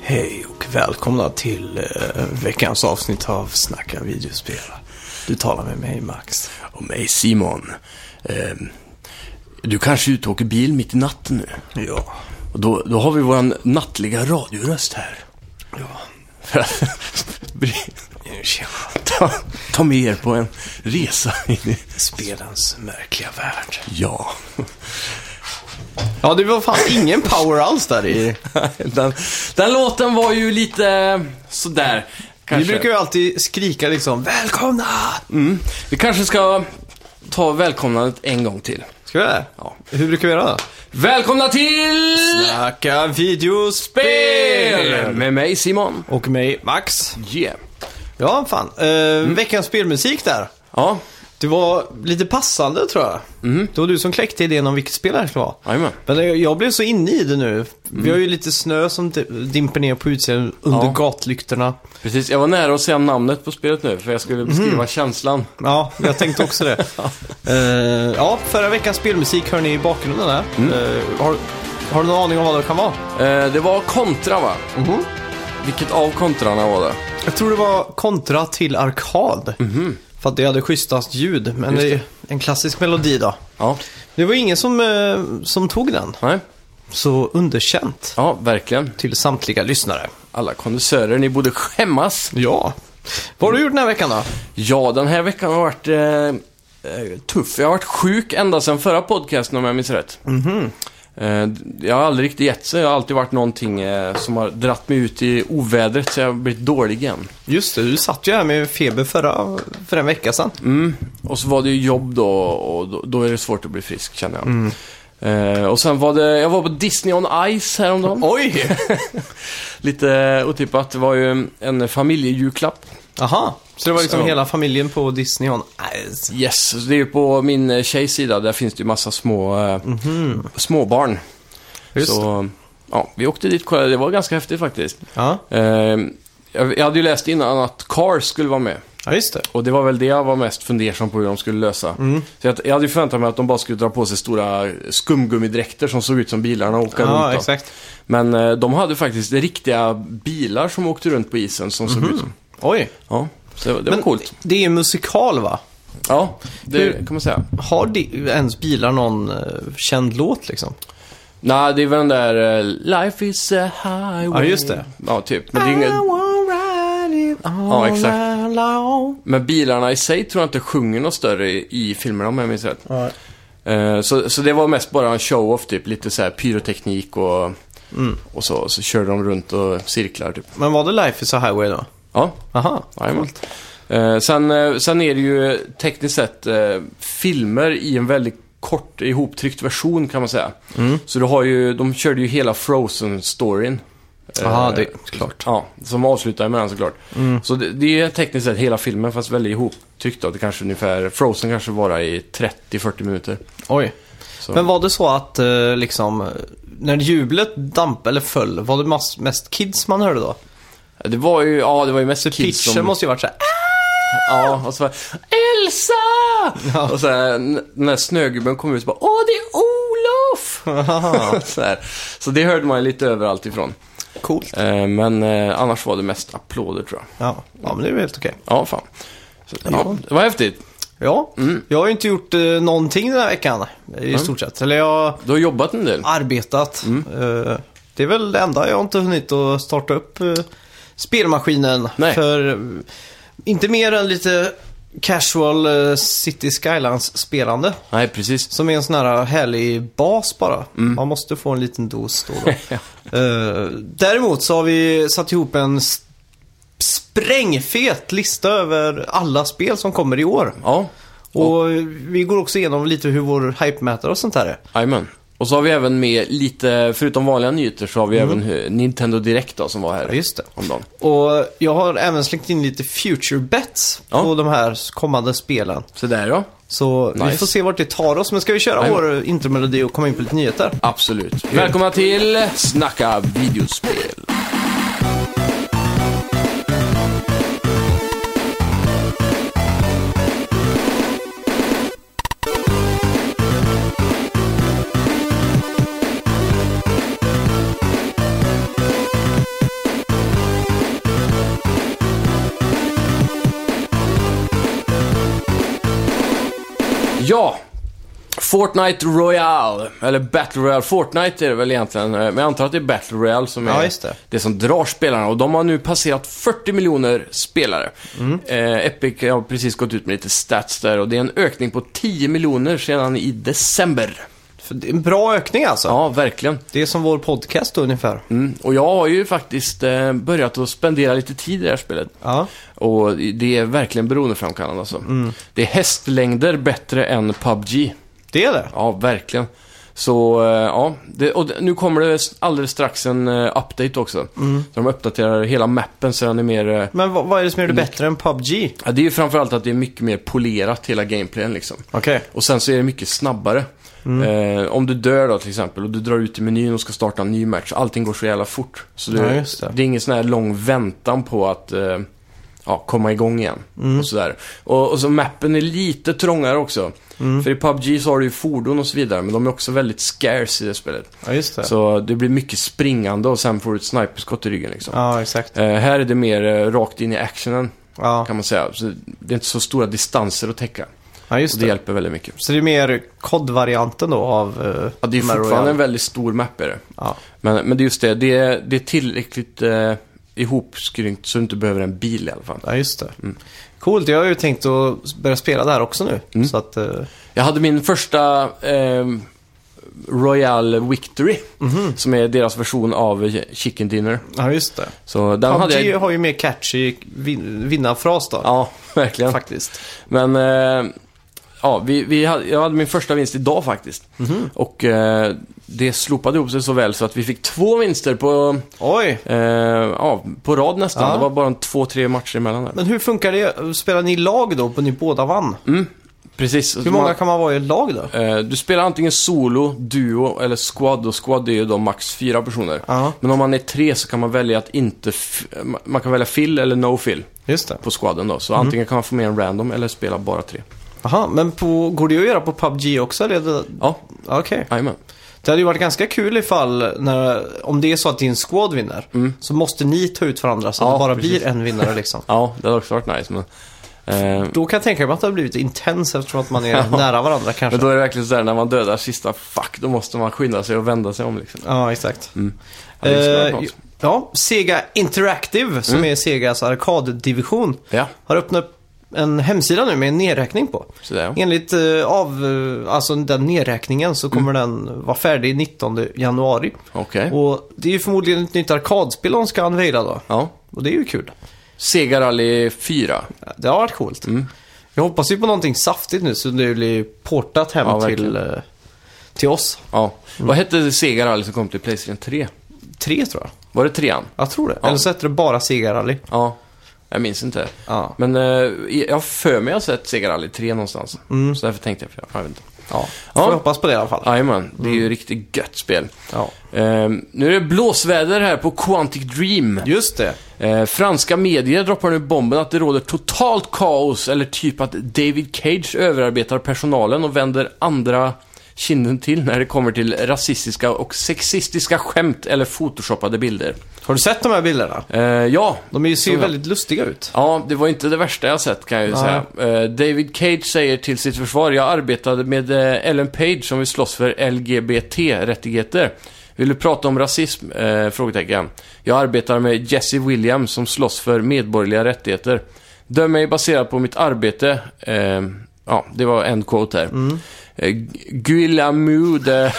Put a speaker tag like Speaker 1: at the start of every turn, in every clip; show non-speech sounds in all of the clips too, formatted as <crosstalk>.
Speaker 1: Hej och välkomna till eh, veckans avsnitt av Snacka videospel. Du talar med mig Max.
Speaker 2: Och mig Simon. Ehm, du kanske är ute och åker bil mitt i natten nu.
Speaker 1: Ja.
Speaker 2: Och då, då har vi vår nattliga radioröst här.
Speaker 1: Ja.
Speaker 2: För att
Speaker 1: Tjena.
Speaker 2: ta, ta med er på en resa in i...
Speaker 1: Spelens märkliga värld.
Speaker 2: Ja.
Speaker 1: Ja, det var fan ingen power alls där i.
Speaker 2: Den, den låten var ju lite sådär.
Speaker 1: Vi
Speaker 2: Kanske.
Speaker 1: brukar ju alltid skrika liksom Välkomna!
Speaker 2: mm. vi kanske ska ta välkomnandet en gång till.
Speaker 1: Ska vi det?
Speaker 2: Ja.
Speaker 1: Hur brukar vi göra då?
Speaker 2: Välkomna till...
Speaker 1: Snacka videospel!
Speaker 2: Med mig Simon.
Speaker 1: Och mig Max.
Speaker 2: Yeah.
Speaker 1: Ja, fan. Eh, Veckans spelmusik där.
Speaker 2: Ja,
Speaker 1: Det var lite passande tror jag. Det var du som kläckte idén om vilket spel det här skulle vara.
Speaker 2: jajamän.
Speaker 1: Men jag- jag blev så inne i det nu. Vi har ju lite snö som di- dimper ner på utsidan under
Speaker 2: Ja.
Speaker 1: gatlyktorna.
Speaker 2: Precis, jag var nära att säga namnet på spelet nu för jag skulle beskriva känslan.
Speaker 1: Ja, jag tänkte också det. Eh, ja, förra veckans spelmusik hör ni i bakgrunden där. Eh, har, har du någon aning om vad det kan vara?
Speaker 2: Eh, det var kontra va? Vilket av kontrarna var det?
Speaker 1: Jag tror det var kontra till arkad. För att det hade schysstast ljud, men
Speaker 2: Just
Speaker 1: det är en klassisk melodi då.
Speaker 2: Ja,
Speaker 1: Det var ingen som, eh, som tog den,
Speaker 2: nej.
Speaker 1: så underkänt
Speaker 2: Ja, verkligen.
Speaker 1: till samtliga lyssnare.
Speaker 2: Alla kondensörer, ni borde skämmas.
Speaker 1: Ja. Vad har du gjort den här veckan då?
Speaker 2: Ja, den här veckan har varit eh, eh, tuff. Jag har varit sjuk ända sedan förra podcasten om jag minns rätt. Eh, d- jag har aldrig riktigt gett sig. Jag har alltid varit någonting eh, som har dratt mig ut i ovädret så jag har blivit dålig igen.
Speaker 1: Just det, du satt ju här med feber förra, för en vecka sedan.
Speaker 2: Mm. Och så var det ju jobb då och då, då är det svårt att bli frisk känner jag.
Speaker 1: Mm.
Speaker 2: Eh, och sen var det, jag var på Disney on Ice häromdagen.
Speaker 1: Oj!
Speaker 2: <laughs> Lite otippat, det var ju en familjejulklapp.
Speaker 1: Aha, så det var liksom
Speaker 2: Så.
Speaker 1: hela familjen på Disney on Ice.
Speaker 2: Yes, så det är ju på min eh, tjejs sida, där finns det ju massa små, eh, småbarn.
Speaker 1: Mhm. Just det.
Speaker 2: Så, ja, vi åkte dit och kollade, det var ganska häftigt faktiskt.
Speaker 1: Ja.
Speaker 2: Eh, jag, jag hade ju läst innan att Cars skulle vara med.
Speaker 1: ja, just det.
Speaker 2: Och det var väl det jag var mest fundersam på hur de skulle lösa.
Speaker 1: Mm.
Speaker 2: Så jag, jag hade ju förväntat mig att de bara skulle dra på sig stora skumgummidräkter som såg ut som bilarna och åka
Speaker 1: Ja,
Speaker 2: runt. då.
Speaker 1: exakt.
Speaker 2: Men eh, de hade faktiskt riktiga bilar som åkte runt på isen som såg ut som.
Speaker 1: Oj.
Speaker 2: Ja, så det, var- det
Speaker 1: Mhm.
Speaker 2: var
Speaker 1: Men
Speaker 2: coolt.
Speaker 1: Det är en musikal va?
Speaker 2: Ja, det
Speaker 1: hur-
Speaker 2: kan man säga.
Speaker 1: Har di- ens bilar någon eh, känd låt liksom?
Speaker 2: Nej, det är väl den där eh, Life is a
Speaker 1: Ja,
Speaker 2: highway.
Speaker 1: just det.
Speaker 2: Ja, typ. Men, det är inget, Ja, exakt. men bilarna i sig tror jag inte sjunger något större i, i filmerna om jag minns rätt.
Speaker 1: Ja.
Speaker 2: Eh, Så, så det var mest bara en show-off typ, lite så här pyroteknik och,
Speaker 1: Mm.
Speaker 2: och så. Så körde de runt och cirklar typ.
Speaker 1: Men var det Life is a Highway då?
Speaker 2: Ja,
Speaker 1: Aha.
Speaker 2: jajamän. Eh, Sen, eh, sen är det ju tekniskt sett eh, filmer i en väldigt kort ihoptryckt version kan man säga.
Speaker 1: Mm.
Speaker 2: Så du har ju, de körde ju hela Frozen-storyn.
Speaker 1: Ja,
Speaker 2: Eh,
Speaker 1: det är klart. Mm.
Speaker 2: Ja, som avslutar med den såklart. Så det, det är tekniskt sett hela filmen fast väldigt ihoptryckt då. Det kanske ungefär, Frozen kanske bara i 30-40 minuter.
Speaker 1: Oj.
Speaker 2: Så.
Speaker 1: Men var det så att eh, liksom, eh, när jublet damp eller föll, var det mass- mest kids man hörde då?
Speaker 2: Det var ju, ja det var ju mest
Speaker 1: Så
Speaker 2: kids
Speaker 1: pitchen
Speaker 2: som...
Speaker 1: måste ju varit såhär,
Speaker 2: Ja, och så var Elsa!
Speaker 1: Ja.
Speaker 2: Och så här, n- när snögubben kom ut så bara Åh, det är Olof! <laughs> så, här. så det hörde man ju lite överallt ifrån.
Speaker 1: coolt.
Speaker 2: Eh, men eh, annars var det mest applåder tror jag.
Speaker 1: Ja, ja men det är väl helt okej.
Speaker 2: Ja, fan. Så,
Speaker 1: Ja.
Speaker 2: ja, Mm. det var häftigt.
Speaker 1: Ja, jag har ju inte gjort eh, någonting den här veckan i
Speaker 2: Mm.
Speaker 1: stort sett. Eller jag har
Speaker 2: Du har jobbat en del.
Speaker 1: arbetat.
Speaker 2: Mm.
Speaker 1: Eh, det är väl det enda jag har inte hunnit att starta upp eh, spelmaskinen.
Speaker 2: Nej.
Speaker 1: För eh, inte mer än lite casual eh, City Skylines spelande.
Speaker 2: Nej, precis.
Speaker 1: Som är en sån här härlig bas bara.
Speaker 2: Mm.
Speaker 1: Man måste få en liten dos då.
Speaker 2: <laughs>
Speaker 1: då. Eh, däremot så har vi satt ihop en s- sprängfet lista över alla spel som kommer i år.
Speaker 2: Ja,
Speaker 1: Och vi går också igenom lite hur vår hype-mätare och sånt här är.
Speaker 2: jajamän. Och så har vi även med lite, förutom vanliga nyheter, så har vi även hu- Nintendo Direkt då, som var här
Speaker 1: Mm. Just det.
Speaker 2: om dagen.
Speaker 1: Och jag har även slängt in lite future bets
Speaker 2: Ja.
Speaker 1: på de här kommande spelen.
Speaker 2: Så där ja.
Speaker 1: Så vi
Speaker 2: Nice.
Speaker 1: får se vart det tar oss. Men ska vi köra
Speaker 2: Nej.
Speaker 1: vår intromelodi och komma in på lite nyheter?
Speaker 2: Absolut. Välkomna till Snacka videospel. Ja, Fortnite Royale, eller Battle Royale. Fortnite är det väl egentligen, eh, men jag antar att det är Battle Royale som är
Speaker 1: Ja, just det.
Speaker 2: som drar spelarna. Och de har nu passerat 40 miljoner spelare.
Speaker 1: Mm.
Speaker 2: Eh, Epic har precis gått ut med lite stats där och det är en ökning på 10 miljoner sedan i december.
Speaker 1: För det är en bra ökning alltså.
Speaker 2: Ja, verkligen.
Speaker 1: Det är som vår podcast då, ungefär.
Speaker 2: Mm. Och jag har ju faktiskt eh, börjat att spendera lite tid i det här spelet.
Speaker 1: Ja.
Speaker 2: Och det är verkligen beroendeframkallande alltså.
Speaker 1: Mm.
Speaker 2: Det är hästlängder bättre än PubG.
Speaker 1: Det är det.
Speaker 2: Ja, verkligen. Så, eh, ja. Det, och det, nu kommer det s- alldeles strax en eh, update också. Så de uppdaterar hela mappen så den är mer... eh,
Speaker 1: Men vad, vad är det som gör det bättre än PubG?
Speaker 2: ja, det är ju framförallt att det är mycket mer polerat, hela gameplayen liksom.
Speaker 1: Okej.
Speaker 2: Och sen så är det mycket snabbare.
Speaker 1: Mm.
Speaker 2: Eh, om du dör då till exempel och du drar ut i menyn och ska starta en ny match. Allting går så jävla fort. Så du,
Speaker 1: Ja, just det.
Speaker 2: är ingen sån här lång väntan på att eh, ja, komma igång igen.
Speaker 1: Mm.
Speaker 2: Och sådär. Och, och så mappen är lite trångare också.
Speaker 1: Mm.
Speaker 2: För i PubG så har du ju fordon och så vidare, men de är också väldigt scarce i det spelet.
Speaker 1: Ja, just det.
Speaker 2: Så det blir mycket springande och sen får du ett sniperskott i ryggen liksom.
Speaker 1: Ja, exakt.
Speaker 2: Eh, här är det mer eh, rakt in i actionen,
Speaker 1: Ja,
Speaker 2: kan man säga. Så det är inte så stora distanser att täcka.
Speaker 1: ja
Speaker 2: Och
Speaker 1: just
Speaker 2: det
Speaker 1: det.
Speaker 2: hjälper väldigt mycket.
Speaker 1: Så det är mer kodvarianten då av... eh,
Speaker 2: Ja, det är
Speaker 1: de här
Speaker 2: fortfarande
Speaker 1: Royal.
Speaker 2: en väldigt stor map är det.
Speaker 1: Ja.
Speaker 2: Men, men det är just det, det är, det är tillräckligt eh, ihopskrynkt så du inte behöver en bil i alla fall.
Speaker 1: ja, just det.
Speaker 2: Mm.
Speaker 1: Coolt, jag har ju tänkt att börja spela det här också nu.
Speaker 2: Mm.
Speaker 1: Så att... eh,
Speaker 2: Jag hade min första eh, Royal Victory,
Speaker 1: Mhm.
Speaker 2: som är deras version av Chicken Dinner.
Speaker 1: ja, just det.
Speaker 2: Så den hade
Speaker 1: PubG
Speaker 2: jag...
Speaker 1: har ju mer catchy vin- vinnarfras då.
Speaker 2: Ja, verkligen.
Speaker 1: Faktiskt.
Speaker 2: Men, eh, ja, vi, vi hade, jag hade min första vinst idag faktiskt.
Speaker 1: Mhm.
Speaker 2: Och eh, det slopade ihop sig så väl så att vi fick två vinster på,
Speaker 1: Oj!
Speaker 2: eh, ja, på rad nästan.
Speaker 1: Ja.
Speaker 2: Det var bara en två, tre matcher emellan där.
Speaker 1: Men hur funkar det? Spelar ni lag då? Och ni båda vann?
Speaker 2: Mm, Precis.
Speaker 1: Hur många kan man vara i ett lag då?
Speaker 2: Eh, Du spelar antingen solo, duo eller squad och squad är ju då max fyra personer.
Speaker 1: Ja,
Speaker 2: Men om man är tre så kan man välja att inte... f- eh, ma- Man kan välja fill eller no fill
Speaker 1: just det.
Speaker 2: på squaden då.
Speaker 1: Mhm.
Speaker 2: Så antingen kan man få med en random eller spela bara tre.
Speaker 1: Aha, men på, går det att göra på PubG också? Eller? är det-
Speaker 2: Ja,
Speaker 1: Okej.
Speaker 2: jajamän.
Speaker 1: Det hade ju varit ganska kul ifall, när, om det är så att din squad vinner, så måste ni ta ut varandra så att
Speaker 2: Mm. Ja,
Speaker 1: det bara
Speaker 2: precis.
Speaker 1: blir en vinnare
Speaker 2: <laughs>
Speaker 1: liksom.
Speaker 2: Ja, det hade också varit nice men... eh,
Speaker 1: Då kan jag tänka mig att det har blivit intens eftersom att man är
Speaker 2: <laughs> Ja.
Speaker 1: nära varandra kanske.
Speaker 2: Men då är det verkligen sådär när man dödar sista, fuck, då måste man skynda sig och vända sig om liksom.
Speaker 1: Ja, exakt.
Speaker 2: Ja, det skulle varit
Speaker 1: Eh,
Speaker 2: något. Mm.
Speaker 1: ja, Sega Interactive, som är Segas arkaddivision,
Speaker 2: Ja,
Speaker 1: har öppnat en hemsida nu med en nedräkning på.
Speaker 2: sådär ja.
Speaker 1: Enligt eh, av, eh, alltså den nedräkningen så kommer
Speaker 2: Mm.
Speaker 1: den vara färdig 19 januari.
Speaker 2: Okej.
Speaker 1: Och det är ju förmodligen ett nytt arkadspel de ska unveila då.
Speaker 2: Ja.
Speaker 1: Och det är ju kul.
Speaker 2: Sega Rally 4.
Speaker 1: Det har varit coolt.
Speaker 2: Mm.
Speaker 1: Jag hoppas ju på någonting saftigt nu så det blir portat hem
Speaker 2: Ja, verkligen.
Speaker 1: till, eh, till oss.
Speaker 2: Ja.
Speaker 1: Mm.
Speaker 2: Vad hette Sega Rally som kom till Playstation 3?
Speaker 1: Tre tror jag.
Speaker 2: Var det trean?
Speaker 1: Jag tror det.
Speaker 2: Ja.
Speaker 1: Eller så heter det bara Sega Rally.
Speaker 2: Ja, jag minns inte.
Speaker 1: Ja.
Speaker 2: Men eh, jag har för mig att jag har sett Sega Rally 3 någonstans. Så därför tänkte jag, för jag, jag vet inte.
Speaker 1: Ja.
Speaker 2: Ja.
Speaker 1: Får vi hoppas på det i alla fall.
Speaker 2: Jajamän, det är ju riktigt gött spel.
Speaker 1: Ja.
Speaker 2: Ehm, nu är det blåsväder här på Quantic Dream.
Speaker 1: Just det.
Speaker 2: Eh, franska medier droppar nu bomben att det råder totalt kaos, eller typ att David Cage överarbetar personalen och vänder andra kinden till när det kommer till rasistiska och sexistiska skämt eller photoshoppade bilder.
Speaker 1: Har du sett de här bilderna?
Speaker 2: Eh, ja,
Speaker 1: De är ju- ser ju
Speaker 2: Så-
Speaker 1: väldigt lustiga ut.
Speaker 2: Ja, det var inte det värsta jag sett kan jag ju
Speaker 1: Nej.
Speaker 2: säga. Eh, David Cage säger till sitt försvar, jag arbetade med eh, Ellen Page som vill slåss för LGBT-rättigheter. Vill du prata om rasism? Eh, frågetecken. Jag arbetar med Jesse Williams som slåss för medborgerliga rättigheter. Döm mig baserat på mitt arbete. Eh, ja, det var en quote här. Mm.
Speaker 1: <laughs>
Speaker 2: Guillamou de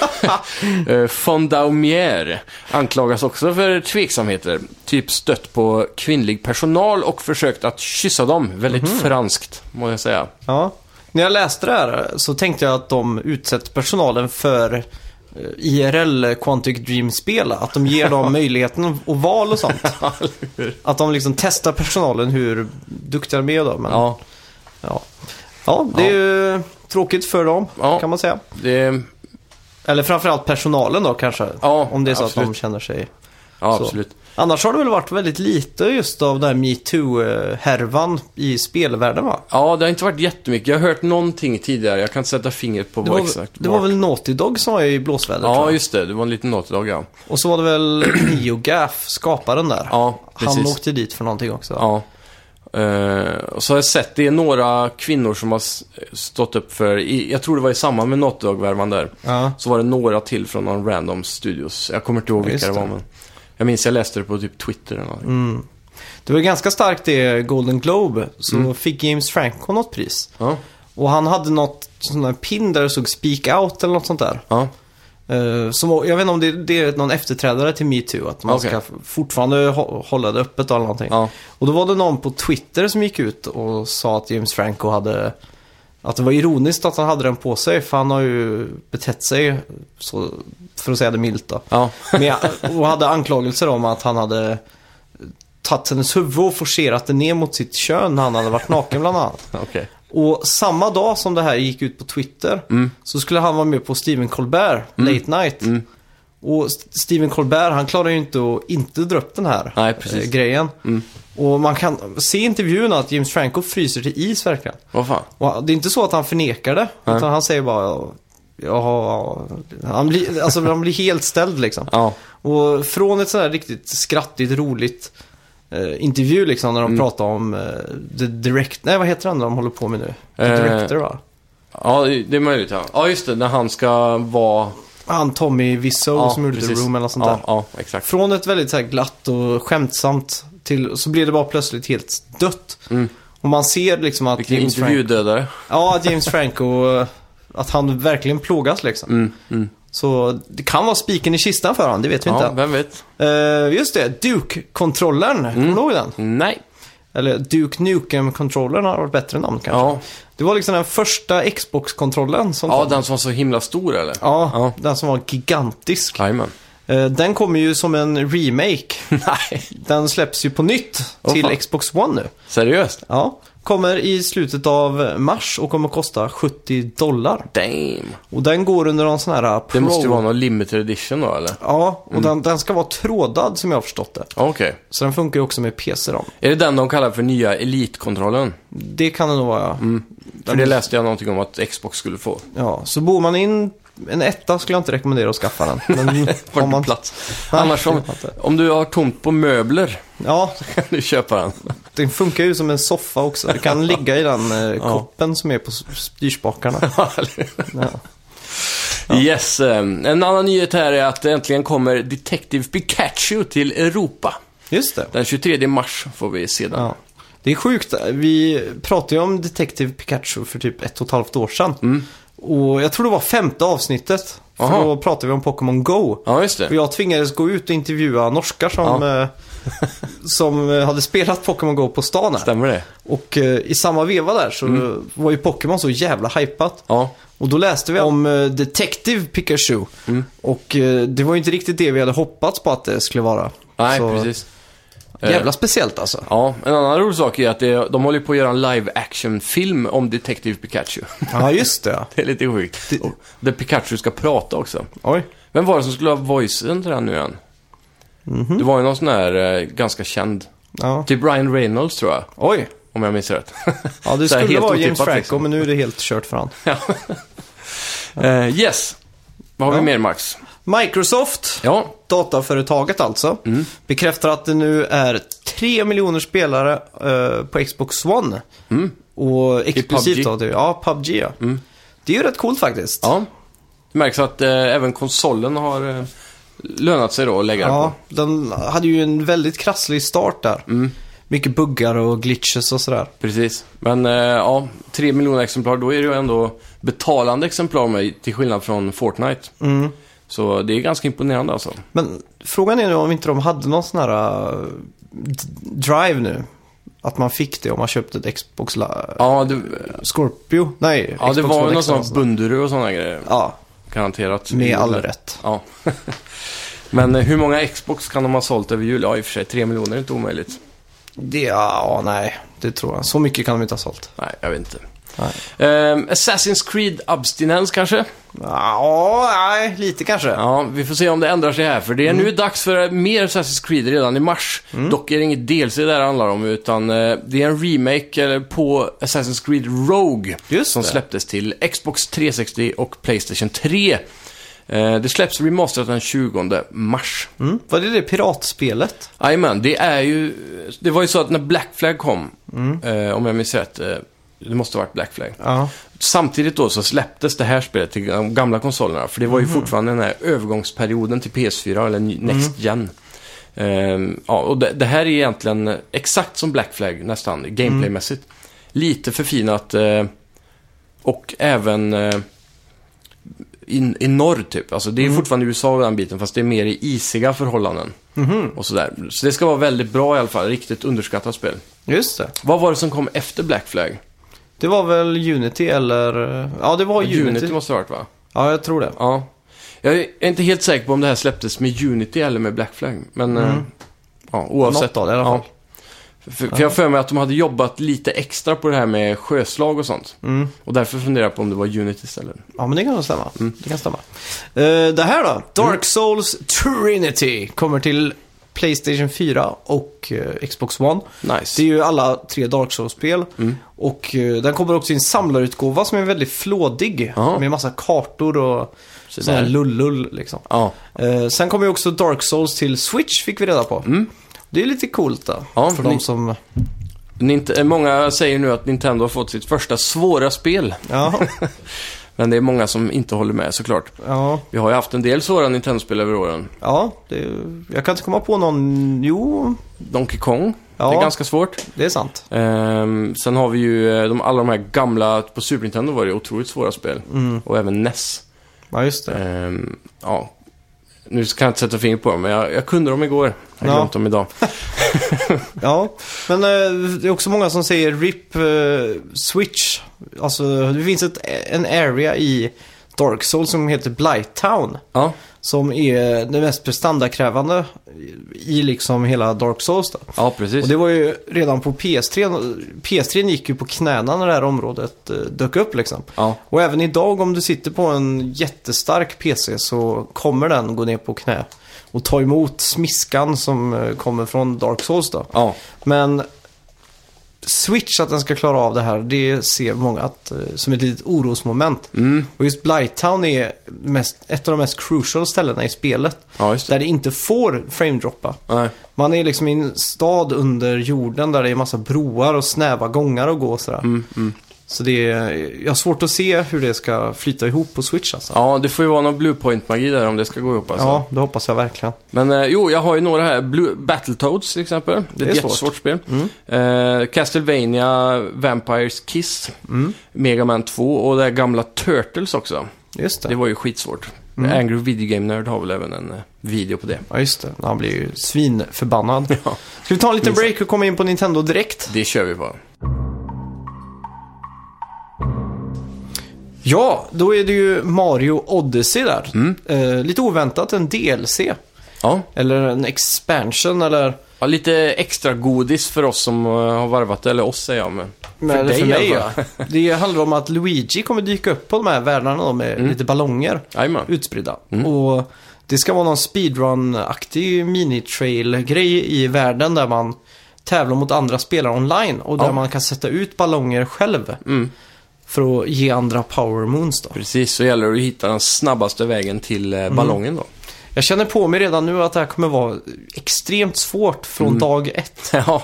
Speaker 2: eh, Fondaumier anklagas också för tveksamheter. Typ stött på kvinnlig personal och försökt att kyssa dem. Väldigt
Speaker 1: Mhm.
Speaker 2: franskt, må jag säga.
Speaker 1: Ja. När jag läste det här så tänkte jag att de utsätter personalen för eh, IRL Quantic Dream-spel, att de ger
Speaker 2: <laughs>
Speaker 1: dem möjligheten och val och sånt. att de liksom testar personalen hur duktiga de är då. Men, ja.
Speaker 2: Ja,
Speaker 1: Ja. det är ju tråkigt för dem
Speaker 2: Ja.
Speaker 1: kan man säga.
Speaker 2: det...
Speaker 1: Eller framförallt personalen då kanske.
Speaker 2: Ja,
Speaker 1: om det är så att de
Speaker 2: absolut.
Speaker 1: känner sig...
Speaker 2: Ja,
Speaker 1: Så.
Speaker 2: absolut.
Speaker 1: Annars har det väl varit väldigt lite just av den här metoo-härvan i spelvärlden va?
Speaker 2: Ja, det har inte varit jättemycket. Jag har hört någonting tidigare. Jag kan inte sätta fingret på
Speaker 1: Det
Speaker 2: vad
Speaker 1: var,
Speaker 2: exakt
Speaker 1: det var
Speaker 2: vart.
Speaker 1: väl Naughty Dog som var i blåsväder tror
Speaker 2: Ja,
Speaker 1: jag.
Speaker 2: just det. Det var en liten Naughty-dag, ja.
Speaker 1: Och så var det väl <clears throat> Neogaff, skaparen där.
Speaker 2: Ja,
Speaker 1: Han
Speaker 2: precis.
Speaker 1: åkte dit för någonting också.
Speaker 2: Ja. Eh, och så har jag sett, det är några kvinnor som har s- stått upp för, i, jag tror det var i samband med Naughty-dag-värvan där.
Speaker 1: Ja.
Speaker 2: Så var det några till från någon random studios. Jag kommer inte ihåg
Speaker 1: Ja,
Speaker 2: vilka det
Speaker 1: just
Speaker 2: var,
Speaker 1: det. Mm.
Speaker 2: men jag minns jag läste det på typ Twitter eller någonting.
Speaker 1: Det var ganska starkt det Golden Globe. Så
Speaker 2: Mm.
Speaker 1: fick James Franco något pris.
Speaker 2: Ja,
Speaker 1: Och han hade något sån där pin där det stod Speak Out eller något sånt där.
Speaker 2: ja,
Speaker 1: Eh, som, jag vet inte om det, det är någon efterträdare till metoo, att man
Speaker 2: Okej.
Speaker 1: ska fortfarande hå- hålla det öppet eller någonting.
Speaker 2: ja,
Speaker 1: Och då var det någon på Twitter som gick ut och sa att James Franco hade... Att det var ironiskt att han hade den på sig, för han har ju betett sig, så, för att säga det milt då.
Speaker 2: ja,
Speaker 1: <laughs> Men jag, och hade anklagelser om att han hade tagit hennes huvud och forcerat det ner mot sitt kön när han hade varit naken bland annat.
Speaker 2: okej.
Speaker 1: Och samma dag som det här gick ut på Twitter
Speaker 2: Mm.
Speaker 1: så skulle han vara med på Stephen Colbert, Late Night. Och S- Stephen Colbert, han klarar ju inte att inte dra upp den här
Speaker 2: Nej, precis. Mm.
Speaker 1: eh, grejen. Och man kan se i intervjun att James Franco fryser till is verkligen.
Speaker 2: Vad fan?
Speaker 1: Och det är inte så att han förnekar det,
Speaker 2: Nej.
Speaker 1: utan han säger bara ja, han blir, alltså, han blir helt ställd liksom.
Speaker 2: Ja,
Speaker 1: Och från ett sådär riktigt skrattigt, roligt eh, intervju liksom
Speaker 2: Mm.
Speaker 1: när de pratar om eh, The Direct... Nej, vad heter han de håller på med nu? The
Speaker 2: Eh.
Speaker 1: Director va?
Speaker 2: ja det är möjligt, ja. Ja, just det, när han ska vara...
Speaker 1: Han Tommy Wiseau
Speaker 2: Ja,
Speaker 1: som gjorde
Speaker 2: precis.
Speaker 1: The Room eller något sånt
Speaker 2: ja,
Speaker 1: där.
Speaker 2: ja, exakt.
Speaker 1: Från ett väldigt så här glatt och skämtsamt till... Så blir det bara plötsligt helt dött.
Speaker 2: Mm.
Speaker 1: Och man ser liksom att
Speaker 2: Vilken
Speaker 1: James, Franco,
Speaker 2: intervjudödare.
Speaker 1: ja, att James Franco... eh, Att han verkligen plågas liksom.
Speaker 2: Mm, mm.
Speaker 1: Så det kan vara spiken i kistan för honom, det vet vi
Speaker 2: Ja,
Speaker 1: inte.
Speaker 2: vem Mm. vet?
Speaker 1: Eh, just det, Duke-kontrollern. Kommer du ihåg den?
Speaker 2: Nej.
Speaker 1: Eller Duke Nukem-kontrollen har varit bättre namn kanske.
Speaker 2: Ja,
Speaker 1: Det var liksom den första Xbox-kontrollen som
Speaker 2: ja
Speaker 1: kom.
Speaker 2: den som var så himla stor, eller?
Speaker 1: Ja,
Speaker 2: Ja.
Speaker 1: den som var gigantisk.
Speaker 2: Jajamän. <laughs>
Speaker 1: Eh, Den kommer ju som en remake.
Speaker 2: Nej.
Speaker 1: Den släpps ju på nytt
Speaker 2: Åh,
Speaker 1: till
Speaker 2: fan.
Speaker 1: Xbox One nu.
Speaker 2: Seriöst?
Speaker 1: Ja. Kommer i slutet av mars och kommer kosta 70 dollar.
Speaker 2: Damn.
Speaker 1: Och den går under någon sån här pro...
Speaker 2: Det måste ju vara Mm. någon limited edition då, eller?
Speaker 1: Ja, och den, den ska vara trådad som jag har förstått det.
Speaker 2: Okej.
Speaker 1: Så den funkar ju också med PC då.
Speaker 2: Är det den de kallar för nya elitkontrollen?
Speaker 1: Det kan det nog vara.
Speaker 2: Mm. För det läste jag någonting om att Xbox skulle få.
Speaker 1: Ja, så bor man in en etta skulle jag inte rekommendera att skaffa den. Men
Speaker 2: <laughs>
Speaker 1: om
Speaker 2: Var man...
Speaker 1: man...
Speaker 2: plats?
Speaker 1: Nej,
Speaker 2: Annars om,
Speaker 1: det var inte.
Speaker 2: om du har tomt på möbler <laughs>
Speaker 1: Ja,
Speaker 2: kan du köpa den.
Speaker 1: den funkar ju som en soffa också. Du
Speaker 2: <laughs>
Speaker 1: kan ligga i den eh, koppen som är på s- styrspakarna.
Speaker 2: <laughs>
Speaker 1: Ja.
Speaker 2: Yes. eh, En annan nyhet här är att äntligen kommer Detective Pikachu till Europa.
Speaker 1: Just det.
Speaker 2: Den 23 mars får vi se den.
Speaker 1: Ja. Det är sjukt. Vi pratade ju om Detective Pikachu för typ ett och ett halvt år sedan. Och jag tror det var femte avsnittet. För
Speaker 2: Mm. Aha.
Speaker 1: då pratade vi om Pokémon Go.
Speaker 2: Ja, just
Speaker 1: Och
Speaker 2: det.
Speaker 1: jag tvingades gå ut och intervjua norskar som, eh, som eh, hade spelat Pokémon Go på stan här.
Speaker 2: Stämmer det?
Speaker 1: Och eh, i samma veva där så
Speaker 2: Mm.
Speaker 1: var ju Pokémon så jävla hypat.
Speaker 2: Ja.
Speaker 1: Och då läste vi om eh, Detective Pikachu.
Speaker 2: Mm.
Speaker 1: Och eh, det var ju inte riktigt det vi hade hoppats på att det skulle vara.
Speaker 2: Nej,
Speaker 1: så,
Speaker 2: precis. Eh,
Speaker 1: Jävla speciellt alltså.
Speaker 2: Ja, en annan rolig sak är att det, de håller på att göra en live action-film om Detective Pikachu.
Speaker 1: Ja, just det.
Speaker 2: <laughs> Det är lite sjukt. Och Där Pikachu ska prata också.
Speaker 1: Oj.
Speaker 2: Vem var det som skulle ha voicen till den nu igen?
Speaker 1: Mhm.
Speaker 2: Det var ju någon sån här eh, ganska känd.
Speaker 1: Ja.
Speaker 2: Typ Ryan Reynolds tror jag,
Speaker 1: Oj.
Speaker 2: om jag minns rätt.
Speaker 1: <laughs> Ja, det
Speaker 2: Så här
Speaker 1: skulle
Speaker 2: helt
Speaker 1: vara James
Speaker 2: otippat,
Speaker 1: Franco,
Speaker 2: liksom.
Speaker 1: men nu är det helt kört för han.
Speaker 2: <laughs> Eh, yes! Vad har
Speaker 1: Ja.
Speaker 2: vi mer Max?
Speaker 1: Microsoft,
Speaker 2: Ja,
Speaker 1: dataföretaget alltså,
Speaker 2: Mm.
Speaker 1: bekräftar att det nu är 3 miljoner spelare eh, på Xbox One.
Speaker 2: Mm.
Speaker 1: Och exklusivt
Speaker 2: PUBG.
Speaker 1: då, det, ja, PubG ja. Det är ju rätt coolt faktiskt.
Speaker 2: Mm. ja. Det märks att eh, även konsolen har eh, lönat sig då att lägga
Speaker 1: Ja,
Speaker 2: den
Speaker 1: den hade ju en väldigt krasslig start där.
Speaker 2: Mm.
Speaker 1: Mycket buggar och glitches och sådär.
Speaker 2: på. Precis. Men eh, ja, tre miljoner exemplar, då är det ju ändå betalande exemplar med, till skillnad från Fortnite.
Speaker 1: Mm.
Speaker 2: Så det är ganska imponerande alltså.
Speaker 1: Men frågan är nu om inte de hade någon sån här eh, d- drive nu. Att man fick det om man köpte ett Xbox la-
Speaker 2: Ja, det,
Speaker 1: Scorpio. Nej,
Speaker 2: ja,
Speaker 1: Xbox
Speaker 2: det var
Speaker 1: One
Speaker 2: ju någon
Speaker 1: X eller
Speaker 2: sån
Speaker 1: något sånt.
Speaker 2: Bunduru och sådana grejer.
Speaker 1: Ja,
Speaker 2: Garanterat.
Speaker 1: Med all rätt.
Speaker 2: Ja. <laughs> Men eh, hur många Xbox kan de ha sålt över jul? Ja, i och för sig, tre miljoner är inte omöjligt.
Speaker 1: Det, ja, nej, det tror jag. Så mycket kan de inte ha sålt.
Speaker 2: Nej, jag vet inte.
Speaker 1: Nej.
Speaker 2: Ehm, Assassin's Creed Abstinens kanske?
Speaker 1: Ja, nej, lite kanske.
Speaker 2: Ja, vi får se om det ändrar sig här, för det är
Speaker 1: Mm.
Speaker 2: nu dags för mer Assassin's Creed redan i mars. Dock är det inget DLC det här handlar om, utan eh, det är en remake eller, på Assassin's Creed Rogue.
Speaker 1: Just
Speaker 2: Som
Speaker 1: det.
Speaker 2: släpptes till Xbox 360 och Playstation 3. Eh, Det släpps remasterat den 20 mars.
Speaker 1: Mm. Var det det piratspelet?
Speaker 2: Jajamän, det är ju... Det var ju så att när Black Flag kom,
Speaker 1: Mm.
Speaker 2: eh, om jag minns rätt, eh, det måste ha varit Black Flag.
Speaker 1: Ja.
Speaker 2: Samtidigt då så släpptes det här spelet till de gamla konsolerna. För det var ju fortfarande den här övergångsperioden till PS4 eller Next Gen. Ehm, ja, och det, det här är egentligen exakt som Black Flag nästan, gameplaymässigt. Lite förfinat eh, och även eh, i, i norr typ. Alltså det är fortfarande USA och den biten fast det är mer i isiga förhållanden. Och sådär. Så det ska vara väldigt bra i alla fall, riktigt underskattat spel.
Speaker 1: Just det.
Speaker 2: Vad var det som kom efter Black Flag?
Speaker 1: Det var väl Unity eller... eh, Ja, det var Unity.
Speaker 2: Unity måste det ha varit va?
Speaker 1: Ja, jag tror det.
Speaker 2: Ja. Jag är inte helt säker på om det här släpptes med Unity eller med Black Flag. Men eh, ja, oavsett.
Speaker 1: Mm. Något av det i alla fall.
Speaker 2: Ja. För, för jag har för mig att de hade jobbat lite extra på det här med sjöslag och sånt.
Speaker 1: Mm.
Speaker 2: Och därför funderar jag på om det var Unity istället.
Speaker 1: Ja, men det kan nog stämma. Det kan stämma. Eh, det här då? Dark Souls Trinity kommer till Playstation 4 och eh, Xbox One. Det
Speaker 2: Nice.
Speaker 1: är ju alla tre Dark Souls-spel.
Speaker 2: Mm.
Speaker 1: Och eh, den kommer också i en samlarutgåva som är väldigt flådig.
Speaker 2: Ja.
Speaker 1: Med massa kartor och
Speaker 2: Så
Speaker 1: sån här
Speaker 2: där.
Speaker 1: lullull liksom.
Speaker 2: Ja.
Speaker 1: Eh, sen kommer ju också Dark Souls till Switch, fick vi reda på. Det är lite coolt då.
Speaker 2: Mm. Ja,
Speaker 1: för
Speaker 2: ni-
Speaker 1: de som...
Speaker 2: Nint- eh, många säger nu att Nintendo har fått sitt första svåra spel.
Speaker 1: Ja,
Speaker 2: Men det är många som inte håller med såklart.
Speaker 1: ja,
Speaker 2: Vi har ju haft en del svåra Nintendo-spel över åren.
Speaker 1: ja det, jag kan inte komma på någon... Jo,
Speaker 2: Donkey Kong, det
Speaker 1: Ja.
Speaker 2: är ganska svårt.
Speaker 1: det är sant.
Speaker 2: Ehm, sen har vi ju eh, de, alla de här gamla, på Super Nintendo var det otroligt svåra spel.
Speaker 1: Mm.
Speaker 2: Och även NES.
Speaker 1: Ja, just det.
Speaker 2: Ehm, ja. Nu kan jag inte sätta fingret på dem, men jag, jag kunde dem igår. Jag har
Speaker 1: Ja.
Speaker 2: glömt dem idag.
Speaker 1: Ja, men eh, det är också många som säger RIP eh, Switch. Alltså, det finns ett, en area i Dark Souls som heter Blighttown.
Speaker 2: Ja,
Speaker 1: Som är det mest prestandakrävande i liksom hela Dark Souls. Då.
Speaker 2: ja precis.
Speaker 1: Och det var ju redan på PS3. PS3 gick ju på knäna när det här området eh, dök upp liksom.
Speaker 2: ja.
Speaker 1: Och även idag om du sitter på en jättestark PC så kommer den gå ner på knä. Och ta emot smiskan som eh, kommer från Dark Souls då.
Speaker 2: Ja,
Speaker 1: Men Switch, att den ska klara av det här, det ser många att, eh, som ett litet orosmoment.
Speaker 2: Mm.
Speaker 1: Och just Blighttown är mest, ett av de mest crucial ställena i spelet.
Speaker 2: ja just det.
Speaker 1: Där det inte får framedroppa.
Speaker 2: Nej.
Speaker 1: Man är liksom i en stad under jorden där det är massa broar och snäva gångar att gå och sådär.
Speaker 2: Mm,
Speaker 1: Så det är, jag har svårt att se hur det ska flyta ihop på Switch alltså.
Speaker 2: Ja, det får ju vara någon Bluepoint-magi där om det ska gå ihop alltså.
Speaker 1: Ja, det hoppas jag verkligen.
Speaker 2: Men eh, jo, jag har ju några här. Blue, Battletoads till exempel. Det är
Speaker 1: Det
Speaker 2: ett
Speaker 1: är svårt. Mm.
Speaker 2: jättesvårt spel. Eh, Castlevania, Vampires Kiss, Mega Man 2 och det här gamla Turtles också.
Speaker 1: Just det.
Speaker 2: Det var ju skitsvårt.
Speaker 1: Mm.
Speaker 2: Angry Video Game Nerd har väl även en eh, video på det.
Speaker 1: Ja, just det. Han blir ju svinförbannad.
Speaker 2: <laughs> Ja.
Speaker 1: Ska vi ta en liten
Speaker 2: Minst.
Speaker 1: break och komma in på Nintendo direkt?
Speaker 2: Det kör vi på.
Speaker 1: Ja, då är det ju Mario Odyssey där.
Speaker 2: Mm.
Speaker 1: Eh, lite oväntat en DLC.
Speaker 2: Ja.
Speaker 1: Eller en expansion eller...
Speaker 2: ja, lite extra godis för oss som eh, har varvat det, eller oss säger jag, men
Speaker 1: eller
Speaker 2: dig
Speaker 1: för
Speaker 2: alltså.
Speaker 1: mig
Speaker 2: i alla
Speaker 1: ja. Det handlar om att Luigi kommer dyka upp på de här världarna då
Speaker 2: Mm.
Speaker 1: med lite ballonger
Speaker 2: Jajamän.
Speaker 1: utspridda.
Speaker 2: Mm.
Speaker 1: Och det ska vara någon speedrun-aktig minitrail-grej i världen där man tävlar mot andra spelare online och där
Speaker 2: Ja. Mm.
Speaker 1: man kan sätta ut ballonger själv. För att ge andra power moons då.
Speaker 2: Precis, så gäller det att hitta den snabbaste vägen till
Speaker 1: Mm.
Speaker 2: eh, ballongen då. <laughs>
Speaker 1: Jag känner på mig redan nu att det här kommer vara extremt svårt från
Speaker 2: Mm.
Speaker 1: dag ett.
Speaker 2: ja.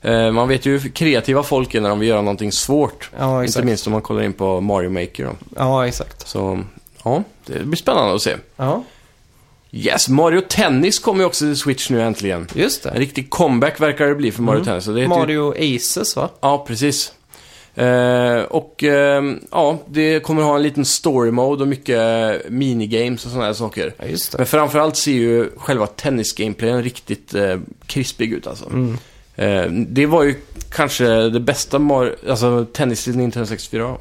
Speaker 2: Eh, Man vet ju hur kreativa folk är när de vill göra någonting svårt.
Speaker 1: Ja,
Speaker 2: Inte
Speaker 1: exakt.
Speaker 2: minst om man kollar in på Mario Maker. Då.
Speaker 1: Ja, exakt.
Speaker 2: Så, ja, det blir spännande att se.
Speaker 1: Ja,
Speaker 2: Yes, Mario Tennis kommer ju också till Switch nu äntligen.
Speaker 1: just
Speaker 2: En
Speaker 1: det.
Speaker 2: riktig comeback verkar det bli för
Speaker 1: Mm.
Speaker 2: Mario Tennis. Så det typ- heter ju-
Speaker 1: Mario Aces, va?
Speaker 2: Ja, precis. Eh, och ehm, ja, det kommer ha en liten story mode och mycket minigames och sådana här saker.
Speaker 1: Ja, just det.
Speaker 2: Men framförallt ser ju själva tennisgameplayen riktigt eh, krispig ut alltså.
Speaker 1: Mm. Mm.
Speaker 2: Eh, det var ju kanske det bästa Mar- alltså, tennis i Nintendo 64.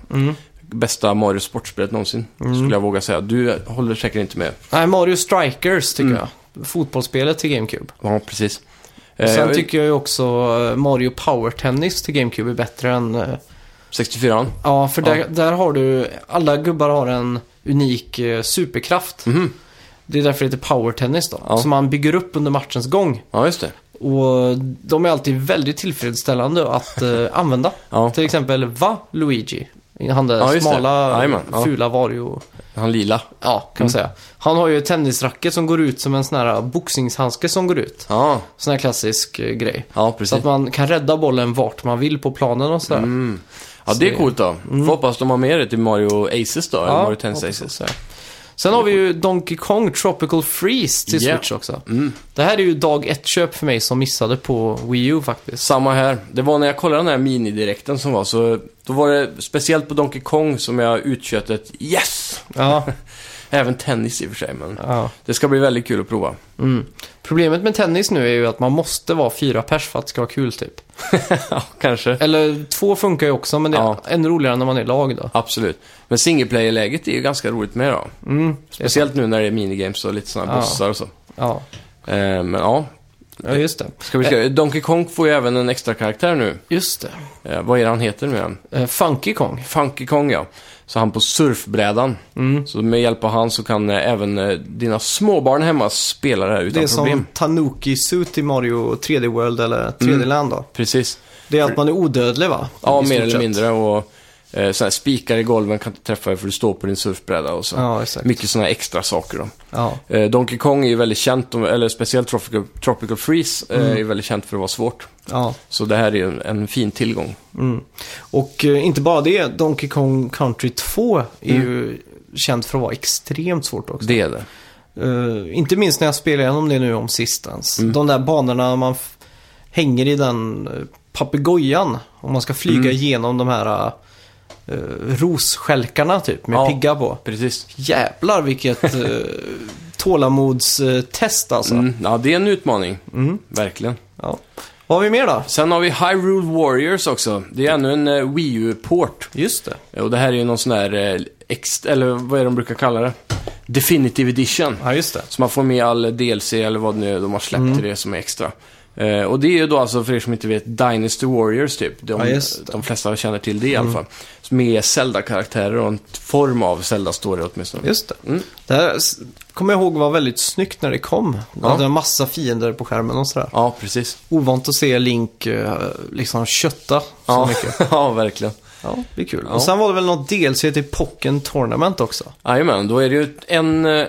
Speaker 2: bästa Mario Sportspelet någonsin, skulle jag våga säga. Du eh, håller säkert inte med.
Speaker 1: Nej, Mario Strikers tycker
Speaker 2: Mm.
Speaker 1: jag. Fotbollsspelet till GameCube.
Speaker 2: Ja, precis.
Speaker 1: Och sen
Speaker 2: eh,
Speaker 1: tycker jag ju också eh, Mario Power Tennis till GameCube är bättre än... eh,
Speaker 2: 64an.
Speaker 1: Ja, för
Speaker 2: Ja.
Speaker 1: Där, där har du... Alla gubbar har en unik eh, superkraft.
Speaker 2: Mhm.
Speaker 1: Det är därför det heter Power Tennis då.
Speaker 2: Ja.
Speaker 1: Som man bygger upp under matchens gång.
Speaker 2: Ja, just det.
Speaker 1: Och de är alltid väldigt tillfredsställande
Speaker 2: <laughs>
Speaker 1: att eh, använda.
Speaker 2: Ja.
Speaker 1: Till exempel Va Luigi. Han där
Speaker 2: Ja, just det.
Speaker 1: smala,
Speaker 2: Jajamän, ja. Mm.
Speaker 1: fula Vario.
Speaker 2: Han lila.
Speaker 1: Ja, kan man säga. Han har ju ett tennisracket som går ut som en sån här boxningshandske som går ut.
Speaker 2: Ja,
Speaker 1: Sån här klassisk eh, grej.
Speaker 2: ja
Speaker 1: Så
Speaker 2: precis.
Speaker 1: att man kan rädda bollen vart man vill på planen och sådär.
Speaker 2: Mm. Ja, det är coolt då. Får hoppas de har med det till Mario Aces då, eller Mario Tennis
Speaker 1: hoppas
Speaker 2: Aces.
Speaker 1: jag. Sen har vi ju Donkey Kong Tropical Freeze till
Speaker 2: Ja. Mm.
Speaker 1: Switch också. Det här är ju dag ett köp för mig som missade på Wii U faktiskt.
Speaker 2: Samma här. Det var när jag kollade den här minidirekten som var, så då var det speciellt på Donkey Kong som jag utköt ett yes!
Speaker 1: Ja,
Speaker 2: Även tennis i och för sig, men
Speaker 1: <laughs> ja.
Speaker 2: det ska bli väldigt kul att prova.
Speaker 1: Mm. Problemet med tennis nu är ju att man måste vara fyra pers för att det ska vara kul typ.
Speaker 2: Ja, kanske.
Speaker 1: Eller två funkar ju också, men det är
Speaker 2: Ja.
Speaker 1: ännu roligare när man är lag då.
Speaker 2: Absolut. Men singleplayer-läget är ju ganska roligt med då.
Speaker 1: Mm.
Speaker 2: Speciellt nu när det är minigames och lite sådana
Speaker 1: Ja.
Speaker 2: bossar och så.
Speaker 1: Ja.
Speaker 2: Eh, men ja,
Speaker 1: ja, just det.
Speaker 2: ska vi se. Donkey Kong får ju även en extra karaktär nu.
Speaker 1: Just det.
Speaker 2: Eh, vad är det han heter nu igen?
Speaker 1: Eh, Funky Kong.
Speaker 2: Funky Kong ja. Så han på surfbrädan.
Speaker 1: Mm.
Speaker 2: Så med hjälp av han så kan eh, även eh, dina småbarn hemma spela det här
Speaker 1: Det
Speaker 2: utan
Speaker 1: är som
Speaker 2: problem.
Speaker 1: Tanuki Suit i Mario 3D World eller 3D-land då.
Speaker 2: Precis.
Speaker 1: Det är att man är odödlig va?
Speaker 2: Mm. Ja,
Speaker 1: I
Speaker 2: mer
Speaker 1: stort
Speaker 2: eller
Speaker 1: sett.
Speaker 2: mindre. Och eh, sådana här spikar i golven kan inte träffa dig för du står på din surfbräda och så.
Speaker 1: Ja, exakt.
Speaker 2: Mycket sådana extra saker då.
Speaker 1: Ja.
Speaker 2: Eh, Donkey Kong är ju väldigt känt, om- eller speciellt Tropical, Tropical Freeze eh,
Speaker 1: Mm.
Speaker 2: är ju väldigt känt för att vara svårt.
Speaker 1: ja.
Speaker 2: Så det här är ju en, en fin tillgång.
Speaker 1: Mm. Och eh, inte bara det, Donkey Kong Country 2 är
Speaker 2: Mm.
Speaker 1: ju känt för att vara extremt svårt också.
Speaker 2: Det är det.
Speaker 1: Eh, inte minst när jag spelar igenom det nu om sistens.
Speaker 2: Mm.
Speaker 1: De där banorna man f- hänger i den eh, papegojan. Om man ska flyga
Speaker 2: Mm.
Speaker 1: igenom de här eh, rosstjälkarna typ med
Speaker 2: Ja.
Speaker 1: pigga på.
Speaker 2: Precis.
Speaker 1: Jävlar vilket uh, tålamodstest alltså.
Speaker 2: Mm, ja, det är en utmaning.
Speaker 1: Mm.
Speaker 2: Verkligen.
Speaker 1: Ja. Vad har vi mer då?
Speaker 2: Sen har vi Hyrule Warriors också. Det är ännu en eh, Wii U-port.
Speaker 1: Just det.
Speaker 2: Och det här är ju någon sån här, eh, ex- eller vad är de brukar kalla det? Definitive Edition.
Speaker 1: Ja, just det.
Speaker 2: Så man får med all DLC eller vad nu de har släppt
Speaker 1: Mm.
Speaker 2: till det som är extra. Eh, och det är ju då alltså, för er som inte vet, Dynasty Warriors typ. De,
Speaker 1: Ja, just det. Mm.
Speaker 2: de flesta känner till det i alla fall. Med Zelda-karaktärer och en form av Zelda-story åtminstone.
Speaker 1: Just det.
Speaker 2: Mm.
Speaker 1: Det här s- kommer jag ihåg var väldigt snyggt när det kom. Det
Speaker 2: Ja.
Speaker 1: hade en massa fiender på skärmen och sådär.
Speaker 2: Ja, precis.
Speaker 1: Ovant att se Link eh, liksom kötta så
Speaker 2: Ja,
Speaker 1: mycket. <laughs>
Speaker 2: ja verkligen.
Speaker 1: Ja, det blir kul.
Speaker 2: Ja.
Speaker 1: Och sen var det väl något DLC till Pocken Tournament också?
Speaker 2: Jajamän, då är det ju en... eh,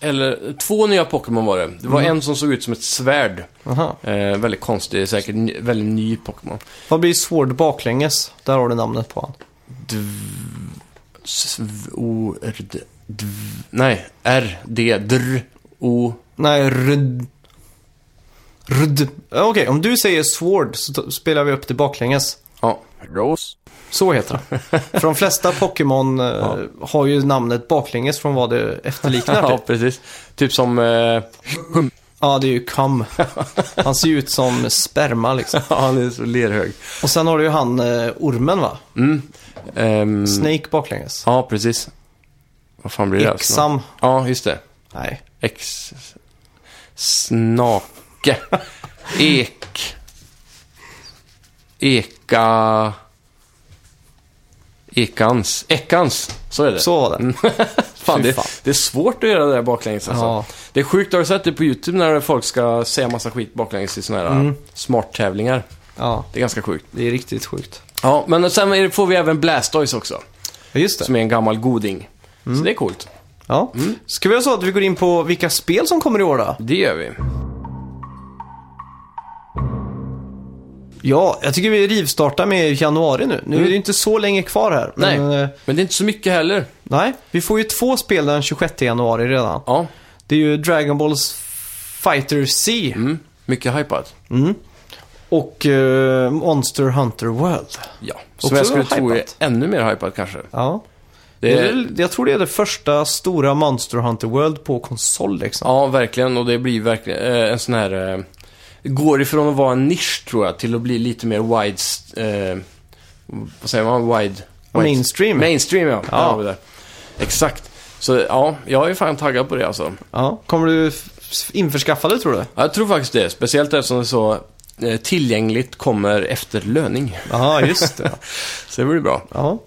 Speaker 2: Eller två nya Pokémon var det. Det var en som såg ut som ett svärd.
Speaker 1: Aha.
Speaker 2: Eh, väldigt konstig, säkert ny, väldigt ny Pokémon.
Speaker 1: Vad blir Sword baklänges? Där har du namnet på han.
Speaker 2: Sv- O... R... D- dv- Nej, R, D, Dr, O...
Speaker 1: Nej, Rud... Rud... Ja, Okej, om du säger Sword så t- spelar vi upp det baklänges.
Speaker 2: Ja. Rose.
Speaker 1: Så heter det.
Speaker 2: <laughs>
Speaker 1: För de flesta Pokémon eh, har ju namnet baklänges från vad det efterliknar.
Speaker 2: Ja,
Speaker 1: typ.
Speaker 2: precis. Typ som... Eh, <laughs>
Speaker 1: ja, det är ju Cum. Han ser ju ut som sperma liksom.
Speaker 2: han är så lerhög.
Speaker 1: Och sen har du ju han eh, ormen va?
Speaker 2: Mm. Ehm,
Speaker 1: Snake baklänges.
Speaker 2: ja, precis. Vad fan blir det? här för något?
Speaker 1: Exam.
Speaker 2: Ja, just det.
Speaker 1: Nej.
Speaker 2: Ex... Snake. Ek. Eka... Ekans. Ekans. Så är det. Mm.
Speaker 1: Så var det.
Speaker 2: fan,
Speaker 1: fy
Speaker 2: det,
Speaker 1: fan.
Speaker 2: det är svårt att göra det där baklänges alltså.
Speaker 1: Ja.
Speaker 2: Det är sjukt, har du sett det på YouTube när folk ska säga massa skit baklänges i såna här
Speaker 1: Mm.
Speaker 2: smart-tävlingar?
Speaker 1: Ja,
Speaker 2: Det är ganska sjukt.
Speaker 1: det är riktigt sjukt.
Speaker 2: Ja, men sen är det- får vi även Blastoise också.
Speaker 1: Ja, just det.
Speaker 2: Som Mm. är en gammal goding. Så det är coolt.
Speaker 1: Ja. Ska vi göra så att vi går in på vilka spel som kommer i år då?
Speaker 2: Det gör vi.
Speaker 1: Ja, jag tycker vi rivstartar med januari nu. Nu är det ju inte så länge kvar här.
Speaker 2: Mm. Nej.
Speaker 1: Men, eh,
Speaker 2: Men det är inte så mycket heller.
Speaker 1: nej, vi får ju två spel den 26 januari redan.
Speaker 2: Ja,
Speaker 1: Det är ju Dragon Balls Fighter C
Speaker 2: mm. mycket hypat.
Speaker 1: och eh, Monster Hunter World.
Speaker 2: Ja,
Speaker 1: Också
Speaker 2: som jag skulle tro är
Speaker 1: hypat.
Speaker 2: ännu mer hypat kanske.
Speaker 1: Ja.
Speaker 2: Det
Speaker 1: Det är...
Speaker 2: är,
Speaker 1: väl- jag tror det är det första stora Monster Hunter World på konsol liksom.
Speaker 2: ja, verkligen. Och det blir verkligen eh, en sån här... Eh, går ifrån att vara en nisch, tror jag, till att bli lite mer wide... Eh, vad säger man? Wide...
Speaker 1: Mainstream.
Speaker 2: Mainstream, ja.
Speaker 1: Ja.
Speaker 2: Där har vi det. Exakt. Så ja, jag är fan taggad på det alltså.
Speaker 1: Ja. Kommer du f- införskaffa det tror du?
Speaker 2: Ja, Jag tror faktiskt det. Speciellt eftersom det är så eh, tillgängligt kommer efter löning.
Speaker 1: Ja, just det.
Speaker 2: <laughs> Så det blir bra.
Speaker 1: Ja,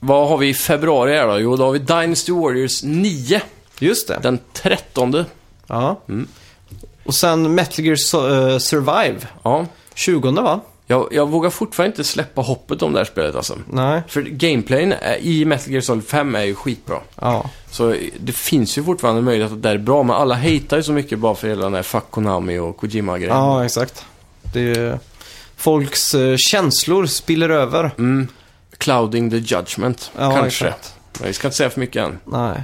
Speaker 2: Vad har vi i februari här då? Jo, då har vi Dynasty Warriors 9.
Speaker 1: just det.
Speaker 2: Den 13.
Speaker 1: Ja. Och sen Metal Gear Su- eh, Survive.
Speaker 2: Ja.
Speaker 1: 20 va?
Speaker 2: Jag, jag vågar fortfarande inte släppa hoppet om det här spelet alltså.
Speaker 1: Nej.
Speaker 2: För gameplayen är- i Metal Gear Solid 5 är ju skitbra.
Speaker 1: Ja.
Speaker 2: Så det finns ju fortfarande möjlighet att det är bra, men alla hatar ju så mycket bara för hela den här Fuck Konami och Kojima-grejen.
Speaker 1: Ja, exakt. Det är ju... Folks eh, känslor spiller över.
Speaker 2: Mm. Clouding the Judgment,
Speaker 1: Ja,
Speaker 2: kanske.
Speaker 1: exakt.
Speaker 2: Men vi ska inte säga för mycket än.
Speaker 1: Nej.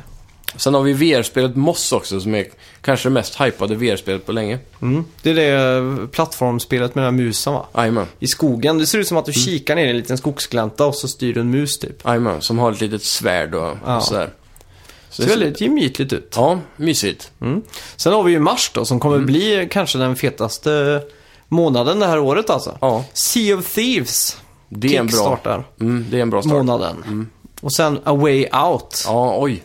Speaker 2: Sen har vi VR-spelet Moss också, som är kanske det mest hypade VR-spelet på länge.
Speaker 1: Mm. Det är det plattformspelet med den här musen va?
Speaker 2: Jajamän.
Speaker 1: I skogen. Det ser ut som att du kikar ner i en liten skogsglänta och så styr du en mus typ.
Speaker 2: Jajamän, som har ett litet svärd och,
Speaker 1: Ja.
Speaker 2: och sådär. Så
Speaker 1: Det
Speaker 2: det
Speaker 1: ser
Speaker 2: är-
Speaker 1: väldigt Mm. gemytligt ut.
Speaker 2: Ja, mysigt.
Speaker 1: Sen har vi ju mars då som
Speaker 2: Mm.
Speaker 1: kommer bli kanske den fetaste månaden det här året alltså.
Speaker 2: Ja,
Speaker 1: Sea of Thieves.
Speaker 2: det är en bra,
Speaker 1: Kickstartar
Speaker 2: mm, det är en bra start. Mm.
Speaker 1: månaden. Och sen A Way Out.
Speaker 2: Ja, oj.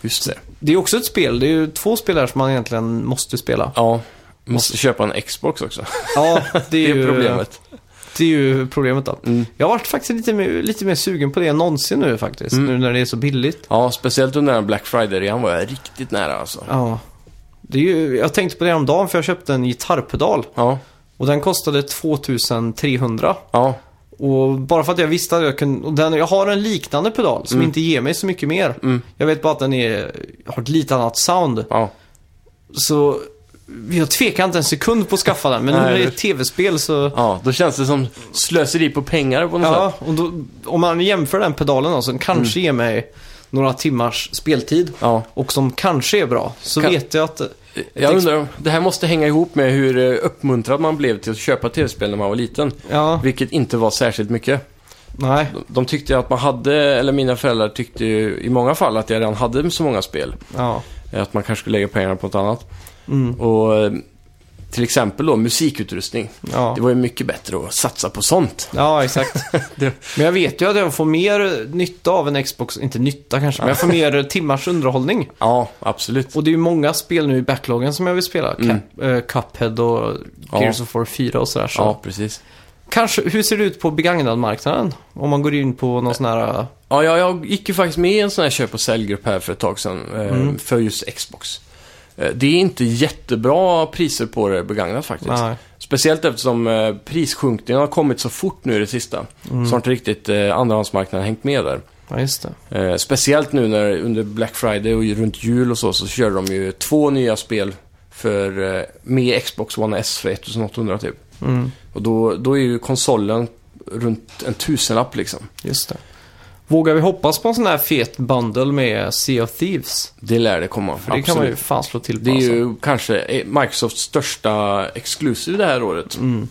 Speaker 2: Just det.
Speaker 1: Det är också ett spel. Det är ju två spel här som man egentligen måste spela.
Speaker 2: Ja, måste köpa en Xbox <laughs> också.
Speaker 1: Ja, <laughs> det är,
Speaker 2: Det
Speaker 1: ju
Speaker 2: är problemet. Mm.
Speaker 1: Det är ju problemet då. Jag har varit faktiskt lite mer, lite mer sugen på det än någonsin nu faktiskt.
Speaker 2: Mm.
Speaker 1: Nu när det är så billigt.
Speaker 2: Ja, speciellt under den här Black Friday-rean var jag riktigt nära alltså.
Speaker 1: Ja. Det är ju, jag tänkte på det om dagen för jag köpte en gitarrpedal.
Speaker 2: Ja,
Speaker 1: Och den kostade 2300.
Speaker 2: ja,
Speaker 1: Och bara för att jag visste att jag kunde... Och den, jag har en liknande pedal som inte ger mig så mycket mer. Jag vet bara att den är, har ett lite annat sound.
Speaker 2: ja.
Speaker 1: Så jag tvekar inte en sekund på att skaffa den. Men nu
Speaker 2: Nej,
Speaker 1: när det är
Speaker 2: jag
Speaker 1: ett tv-spel så...
Speaker 2: ja. Då känns det som slöseri på pengar på något
Speaker 1: Ja,
Speaker 2: sätt.
Speaker 1: och då, om man jämför den pedalen då, som kanske ger mig några timmars speltid
Speaker 2: Ja.
Speaker 1: och som kanske är bra, så
Speaker 2: Kan-
Speaker 1: vet jag att...
Speaker 2: Jag undrar, om- det här måste hänga ihop med hur eh, uppmuntrad man blev till att köpa tv-spel när man var liten.
Speaker 1: Ja,
Speaker 2: Vilket inte var särskilt mycket.
Speaker 1: nej.
Speaker 2: De- De tyckte ju att man hade, eller mina föräldrar tyckte ju i många fall att jag redan hade så många spel.
Speaker 1: Ja,
Speaker 2: Eh, Att man kanske skulle lägga pengarna på något annat.
Speaker 1: Mm.
Speaker 2: Och eh, till exempel då musikutrustning.
Speaker 1: ja.
Speaker 2: Det var ju mycket bättre att satsa
Speaker 1: <laughs>
Speaker 2: på sånt.
Speaker 1: ja exakt. Men jag vet ju att jag får mer nytta av en Xbox, inte nytta kanske, men jag får mer timmars underhållning.
Speaker 2: Ja, absolut.
Speaker 1: Och det är ju många spel nu i backloggen som jag vill spela. Cap, eh, Cuphead och
Speaker 2: Mm. Ja.
Speaker 1: Gears of War 4 och sådär. Så.
Speaker 2: Ja, precis.
Speaker 1: Kanske, hur ser det ut på begagnadmarknaden? Om man går in på någon sån här... eh,
Speaker 2: Ja, jag, jag gick ju faktiskt med i en sån här köp och säljgrupp här för ett tag sedan. eh,
Speaker 1: Mm.
Speaker 2: För just Xbox. Eh, Det är inte jättebra priser på det begagnat faktiskt.
Speaker 1: Nej.
Speaker 2: Speciellt eftersom eh, prissjunkningen har kommit så fort nu i det sista.
Speaker 1: Mm.
Speaker 2: Så har inte riktigt eh, andrahandsmarknaden hängt med där.
Speaker 1: Ja, just det.
Speaker 2: Eh, speciellt nu när under Black Friday och ju runt jul och så, så kör de ju två nya spel för, eh, med Xbox One S för 1800 typ.
Speaker 1: Mm.
Speaker 2: Och då, då är ju konsolen runt en tusenlapp liksom.
Speaker 1: Just det. Vågar vi hoppas på en sån här fet bundle med Sea of Thieves?
Speaker 2: Det lär det komma.
Speaker 1: För det kan man ju fan slå till på.
Speaker 2: Det är
Speaker 1: alltså.
Speaker 2: ju kanske eh, Microsofts största exklusiv det här året.
Speaker 1: Mm.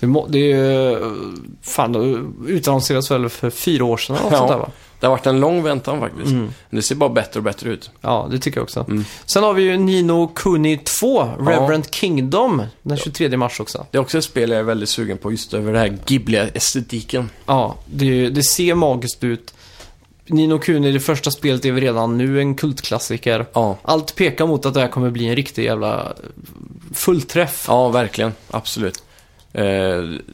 Speaker 1: det, må, det är ju... eh, Fan, det utannonserades väl för fyra år sedan eller något
Speaker 2: Ja.
Speaker 1: sånt där va?
Speaker 2: Det har varit en lång väntan faktiskt.
Speaker 1: Mm.
Speaker 2: Men det ser bara bättre och bättre ut.
Speaker 1: Ja, det tycker jag också.
Speaker 2: Mm.
Speaker 1: Sen har vi ju Nino Kuni 2, Reverend Kingdom, den 23 mars också.
Speaker 2: Det är också ett spel jag är väldigt sugen på, just över den här Ghibli-estetiken.
Speaker 1: Ja, det, är ju- det ser magiskt ut. Nino Kuni, det första spelet, är väl redan nu en kultklassiker.
Speaker 2: Ja.
Speaker 1: Allt pekar mot att det här kommer bli en riktig jävla fullträff.
Speaker 2: Ja, verkligen. Absolut. Eh,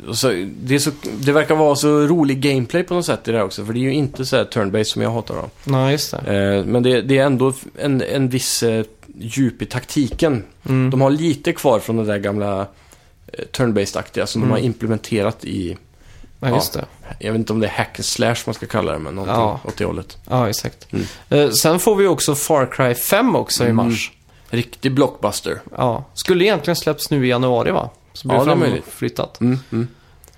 Speaker 2: och så, det, är så, det verkar vara så rolig gameplay på något sätt i det här också, för det är ju inte så här turn-based som jag hatar då.
Speaker 1: Nej, just det.
Speaker 2: Eh, men det, det är ändå en, en viss eh, djup i taktiken.
Speaker 1: Mm.
Speaker 2: De har lite kvar från det där gamla eh, turn-based-aktiga som
Speaker 1: Mm.
Speaker 2: de har implementerat i,
Speaker 1: Ja, just det.
Speaker 2: jag vet inte om det är hack and slash man ska kalla det, men någonting
Speaker 1: Ja.
Speaker 2: åt det hållet.
Speaker 1: Ja, exakt.
Speaker 2: Mm.
Speaker 1: Eh, sen får vi också Far Cry 5 också i
Speaker 2: Mm.
Speaker 1: mars.
Speaker 2: Riktig blockbuster.
Speaker 1: Ja. Skulle egentligen släpps nu i januari, va? Så blir
Speaker 2: Ja,
Speaker 1: det
Speaker 2: det är möjligt.
Speaker 1: framflyttat.
Speaker 2: Mm, mm.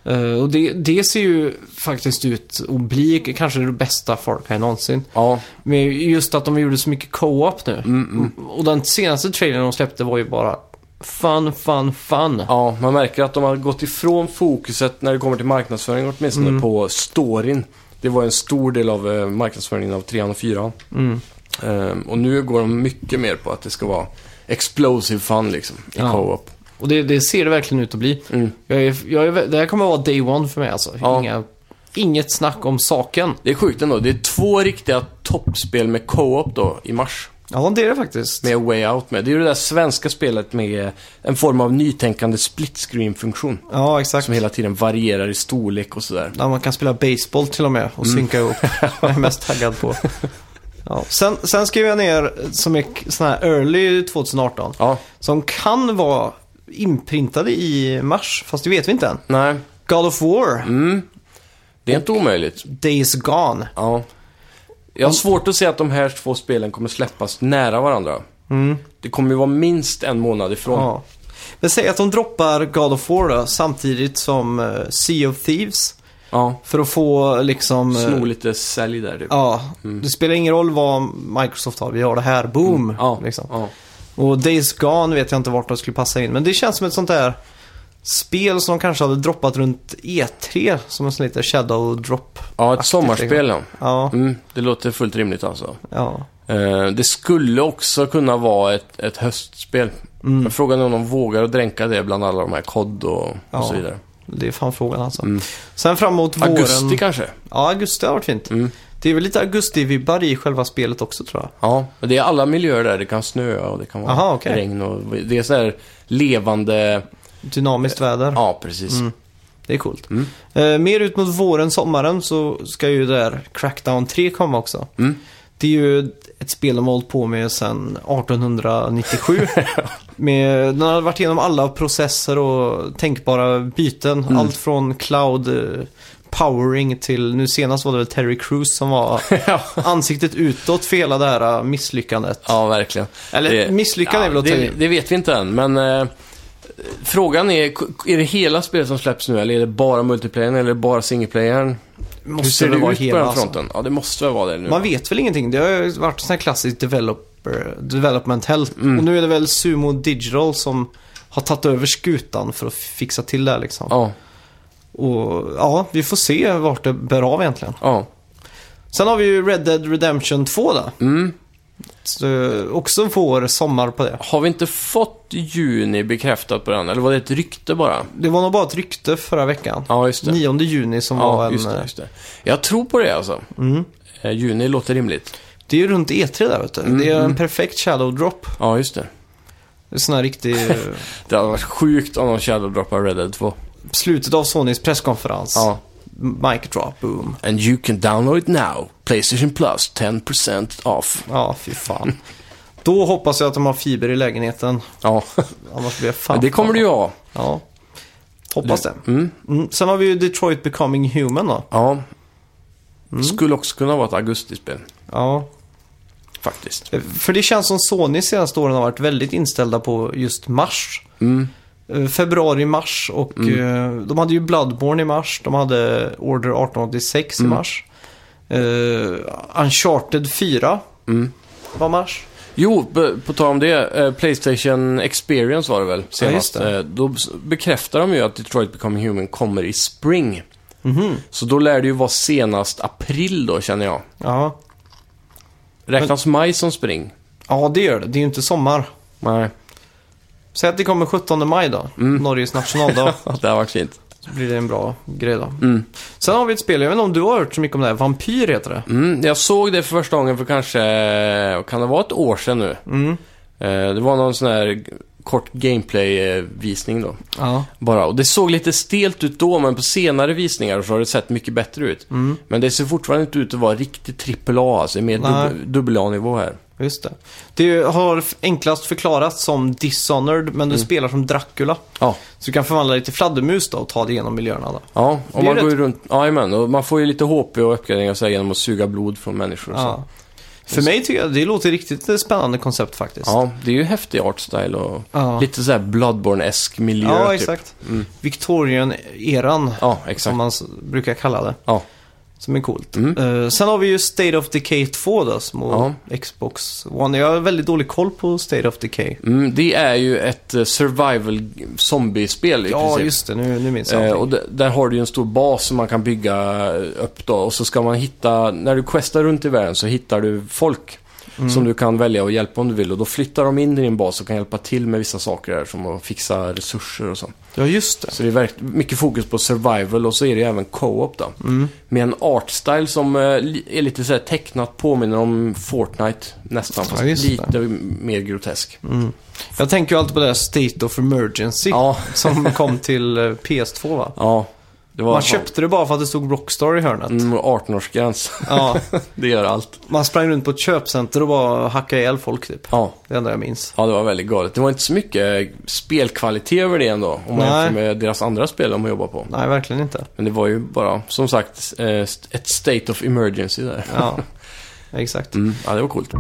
Speaker 1: Eh, och det, det ser ju faktiskt ut att bli kanske det bästa Far Cry någonsin.
Speaker 2: Ja,
Speaker 1: Men just att de gjorde så mycket co-op nu.
Speaker 2: mm, mm.
Speaker 1: Och den senaste trailern de släppte var ju bara fun, fun, fun.
Speaker 2: Ja, man märker att de har gått ifrån fokuset när det kommer till marknadsföring åtminstone
Speaker 1: Mm.
Speaker 2: på storyn. Det var en stor del av eh, marknadsföringen av 3 och 4
Speaker 1: Mm.
Speaker 2: ehm, Och nu går de mycket mer på att det ska vara explosive fun liksom, i
Speaker 1: Ja.
Speaker 2: co-op.
Speaker 1: Och det, det ser det verkligen ut att bli.
Speaker 2: Mm.
Speaker 1: Jag är, jag är, det här kommer att vara day one för mig alltså.
Speaker 2: Ja.
Speaker 1: Inga Inget snack om saken.
Speaker 2: Det är sjukt ändå. Det är två riktiga toppspel med co-op då i mars.
Speaker 1: Ja, det är det faktiskt.
Speaker 2: Med Way Out med. Det är ju det där svenska spelet med en form av nytänkande split screen-funktion.
Speaker 1: Ja, exakt.
Speaker 2: Som hela tiden varierar i storlek och sådär.
Speaker 1: Ja, man kan spela baseball till och med och
Speaker 2: Mm.
Speaker 1: synka
Speaker 2: <laughs>
Speaker 1: ihop. Jag är mest taggad på. Ja. Sen, sen skrev jag ner som är k- sån här early 2018.
Speaker 2: Ja,
Speaker 1: Som kan vara inprintade i mars, fast det vet vi inte än.
Speaker 2: nej.
Speaker 1: God of War,
Speaker 2: Det är inte omöjligt.
Speaker 1: Days Gone.
Speaker 2: Ja. Jag har svårt att se att de här två spelen kommer släppas nära varandra. Det kommer ju vara minst en månad ifrån.
Speaker 1: Mm. Ja. Men säg att de droppar God of War då, samtidigt som eh, Sea of Thieves.
Speaker 2: Ja.
Speaker 1: För att få liksom... eh,
Speaker 2: Sno lite sälj där typ.
Speaker 1: Ja, det spelar ingen roll vad Microsoft har. Vi har det här, boom!
Speaker 2: Mm. Ja,
Speaker 1: Liksom.
Speaker 2: ja.
Speaker 1: Och Days Gone vet jag inte vart de skulle passa in. Men det känns som ett sånt där spel som de kanske hade droppat runt E3. Som en sån liten shadow drop.
Speaker 2: ja
Speaker 1: Aktivt,
Speaker 2: ett
Speaker 1: liksom.
Speaker 2: sommarspel ja.
Speaker 1: Ja,
Speaker 2: Mm, det låter fullt rimligt alltså.
Speaker 1: ja.
Speaker 2: Eh, det skulle också kunna vara ett, ett höstspel.
Speaker 1: Mm.
Speaker 2: Men frågan är om de vågar att dränka det bland alla de här kod och,
Speaker 1: Ja.
Speaker 2: och så vidare.
Speaker 1: Det är fan frågan alltså. Sen framåt våren.
Speaker 2: Mm. Augusti kanske?
Speaker 1: Ja, augusti har varit fint.
Speaker 2: Mm.
Speaker 1: Det är väl lite augusti-vibbar i själva spelet också tror jag.
Speaker 2: Ja, men det är alla miljöer där. Det kan snöa och det kan vara
Speaker 1: Aha, okej.
Speaker 2: regn och... Det är sådär levande...
Speaker 1: Dynamiskt väder.
Speaker 2: Ja, Mm. precis.
Speaker 1: Mm. Det är coolt. Eh, mer ut mot våren, sommaren så ska ju det där Crackdown 3 komma också.
Speaker 2: Mm.
Speaker 1: Det är ju ett spel de har hållit på med sedan
Speaker 2: <laughs>
Speaker 1: 1897. med, den har varit igenom alla processer och tänkbara byten.
Speaker 2: Mm.
Speaker 1: Allt från cloud eh, powering till, nu senast var det väl Terry Crews som
Speaker 2: <laughs>
Speaker 1: var
Speaker 2: Ja.
Speaker 1: ansiktet utåt för hela det här eh, misslyckandet.
Speaker 2: Ja, verkligen.
Speaker 1: Eller misslyckande är väl att ta
Speaker 2: det,
Speaker 1: i.
Speaker 2: det vet vi inte än, men... eh, frågan är, k- är det hela spelet som släpps nu eller är det bara multiplayern eller är det bara singleplayern?
Speaker 1: Måste
Speaker 2: Hur ser
Speaker 1: väl vara
Speaker 2: det ut på
Speaker 1: hela,
Speaker 2: den
Speaker 1: alltså.
Speaker 2: fronten? Ja, det måste väl vara det nu.
Speaker 1: Man vet väl ingenting. Det har ju varit sån här klassisk developer, development hell.
Speaker 2: Mm.
Speaker 1: Och nu är det väl Sumo Digital som har tagit över skutan för att fixa till det här liksom.
Speaker 2: Ja,
Speaker 1: Och ja, vi får se vart det bär av egentligen.
Speaker 2: ja.
Speaker 1: Sen har vi ju Red Dead Redemption 2 då.
Speaker 2: Mm.
Speaker 1: Så, också vår sommar på det.
Speaker 2: Har vi inte fått juni bekräftat på den? Eller var det ett rykte bara?
Speaker 1: Det var nog bara ett rykte förra veckan.
Speaker 2: Ja, just det.
Speaker 1: 9 juni som var en...
Speaker 2: Ja,
Speaker 1: eh, Mm.
Speaker 2: just det, just det. Jag tror på det alltså. Eh, juni låter rimligt.
Speaker 1: Det är ju runt E3 där vet du. Det
Speaker 2: Mm,
Speaker 1: är en perfekt shadow drop.
Speaker 2: Ja, just det.
Speaker 1: Det är Sån här riktig...
Speaker 2: <laughs> Det hade varit sjukt om de shadowdroppar Red Dead 2.
Speaker 1: slutet av Sonys presskonferens.
Speaker 2: Ja.
Speaker 1: Mic drop, boom.
Speaker 2: And you can download it now. Playstation Plus 10% off.
Speaker 1: Ja, fy fan. <laughs> Då hoppas jag att de har fiber i lägenheten.
Speaker 2: <laughs> Ja,
Speaker 1: Annars blir jag fan
Speaker 2: det kommer du ju ha.
Speaker 1: Ja. Hoppas det. Mm. Sen har vi ju Detroit Becoming Human då.
Speaker 2: Ja. Skulle också kunna vara ett augustispel,
Speaker 1: Ja.
Speaker 2: faktiskt.
Speaker 1: För det känns som Sony senaste åren har varit väldigt inställda på just mars.
Speaker 2: Mm.
Speaker 1: Eh, Februari, mars och eh, de hade ju Bloodborne i mars. De hade Order 1886
Speaker 2: Mm.
Speaker 1: i mars. Eh, Uncharted 4
Speaker 2: Mm.
Speaker 1: var mars.
Speaker 2: Jo, b- på tal om det. eh, Playstation Experience var det väl senast.
Speaker 1: just det.
Speaker 2: Eh, Då s- bekräftar de ju att Detroit Becoming Human kommer i spring. Så då lär det ju vara senast april då, känner jag.
Speaker 1: Ja.
Speaker 2: Räknas maj som spring?
Speaker 1: ja, det gör det. Det är ju inte sommar.
Speaker 2: Nej,
Speaker 1: Säg att det kommer 17 maj då,
Speaker 2: Mm.
Speaker 1: Norges
Speaker 2: <laughs>
Speaker 1: nationaldag.
Speaker 2: <laughs> det har varit fint.
Speaker 1: så blir det en bra grej då.
Speaker 2: Mm.
Speaker 1: Sen har vi ett spel, jag vet inte om du har hört så mycket om det här, Vampyr heter det.
Speaker 2: Mm, jag såg det för första gången för kanske, vad kan det vara ett år sedan nu? Eh, Det var någon sån här g- kort gameplay-visning då.
Speaker 1: Ja.
Speaker 2: Bara. Och det såg lite stelt ut då, men på senare visningar så har det sett mycket bättre ut.
Speaker 1: Mm.
Speaker 2: Men det ser fortfarande inte ut att vara riktigt AAA, alltså det är mer
Speaker 1: Nej.
Speaker 2: dub- dubbel A-nivå här.
Speaker 1: Just det. Det har f- enklast förklarats som Dishonored, men du
Speaker 2: Mm.
Speaker 1: spelar som Dracula.
Speaker 2: Ja,
Speaker 1: Så du kan förvandla dig till fladdermus då och ta dig igenom miljöerna då.
Speaker 2: ja och
Speaker 1: Det är
Speaker 2: man
Speaker 1: rätt-
Speaker 2: går ju runt, jajamän, och man får ju lite HP och uppgraderingar så här, genom att suga blod från människor och så.
Speaker 1: Ja. För mig tycker jag det låter riktigt eh, spännande koncept faktiskt.
Speaker 2: Ja, det är ju häftig artstyle och
Speaker 1: Ja.
Speaker 2: lite så här Bloodborne-esk miljö
Speaker 1: Ja,
Speaker 2: typ.
Speaker 1: exakt. Victorian-eran,
Speaker 2: Ja,
Speaker 1: som
Speaker 2: exakt.
Speaker 1: man s- brukar kalla det.
Speaker 2: Ja. Mm.
Speaker 1: Som är coolt. Eh, sen har vi ju State of Decay 2 då, små Xbox One. Jag har väldigt dålig koll på State of Decay.
Speaker 2: Mm, det är ju ett eh, survival zombiespel i
Speaker 1: Ja,
Speaker 2: princip.
Speaker 1: just det. Nu, nu minns jag
Speaker 2: Eh,
Speaker 1: allting.
Speaker 2: och d- där har du ju en stor bas som man kan bygga eh, upp då och så ska man hitta, när du questar runt i världen så hittar du folk.
Speaker 1: Mm.
Speaker 2: Som du kan välja att hjälpa om du vill. Och då flyttar de in i din bas och kan hjälpa till med vissa saker där. Som att fixa resurser och sånt.
Speaker 1: Ja, just det.
Speaker 2: Så det är verk- mycket fokus på survival och så är det ju även co-op då.
Speaker 1: Mm.
Speaker 2: Med en artstyle som eh, li- är lite så här tecknat, påminner om Fortnite nästan.
Speaker 1: Ja,
Speaker 2: Fast
Speaker 1: just det. Mm.
Speaker 2: lite mer grotesk.
Speaker 1: Jag tänker ju alltid på det här State of Emergency.
Speaker 2: Ja,
Speaker 1: <laughs> Som kom till eh, PS2 va?
Speaker 2: ja. Det var alltså
Speaker 1: Man köpte det bara för att det stod Rockstar i hörnet.
Speaker 2: Mm, och 18-årsgräns.
Speaker 1: Ja,
Speaker 2: <laughs> det gör allt.
Speaker 1: man sprang runt på ett köpcenter och bara hackade ihjäl folk typ.
Speaker 2: Ja.
Speaker 1: Det enda jag minns.
Speaker 2: ja, det var väldigt galet. Det var inte så mycket spelkvalitet över det ändå. Om man
Speaker 1: Nej.
Speaker 2: jämför med deras andra spel de har jobbat på.
Speaker 1: Nej, verkligen inte.
Speaker 2: Men det var ju bara, som sagt, eh, st- ett state of emergency där. <laughs>
Speaker 1: Ja, exakt.
Speaker 2: Mm, ja, det var coolt.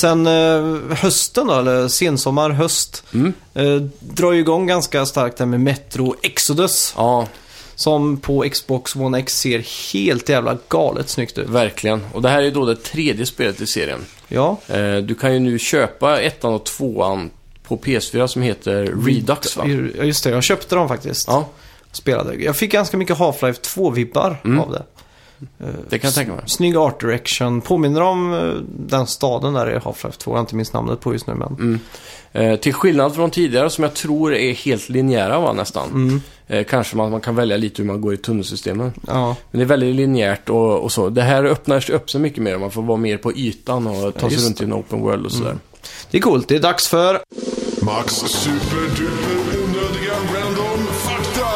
Speaker 1: Sen eh, hösten då, eller sensommar, höst.
Speaker 2: Mm.
Speaker 1: Eh, drar ju igång ganska starkt där med Metro Exodus.
Speaker 2: Ja,
Speaker 1: Som på Xbox One X ser helt jävla galet snyggt ut.
Speaker 2: verkligen. Och det här är ju då det tredje spelet i serien.
Speaker 1: Ja,
Speaker 2: Eh, du kan ju nu köpa ettan och tvåan på PS4 som heter Redux va?
Speaker 1: ja, just det. Jag köpte dem faktiskt.
Speaker 2: Ja,
Speaker 1: Spelade. Jag fick ganska mycket Half-Life 2-vibbar
Speaker 2: Mm.
Speaker 1: av det.
Speaker 2: det kan jag tänka mig.
Speaker 1: Snygg art direction. Påminner om eh, den staden där i Half-Life 2. Jag har inte minst namnet på just nu men.
Speaker 2: Mm. Eh, till skillnad från tidigare som jag tror är helt linjära va, nästan.
Speaker 1: Mm.
Speaker 2: Eh, kanske man, man kan välja lite hur man går i tunnelsystemen.
Speaker 1: Ja,
Speaker 2: Men det är väldigt linjärt och, och så. Det här öppnar sig upp sig mycket mer. Man får vara mer på ytan och ta sig
Speaker 1: just
Speaker 2: runt i en open world och sådär.
Speaker 1: det är coolt. Det är dags för
Speaker 3: Max super duper onödiga random fakta!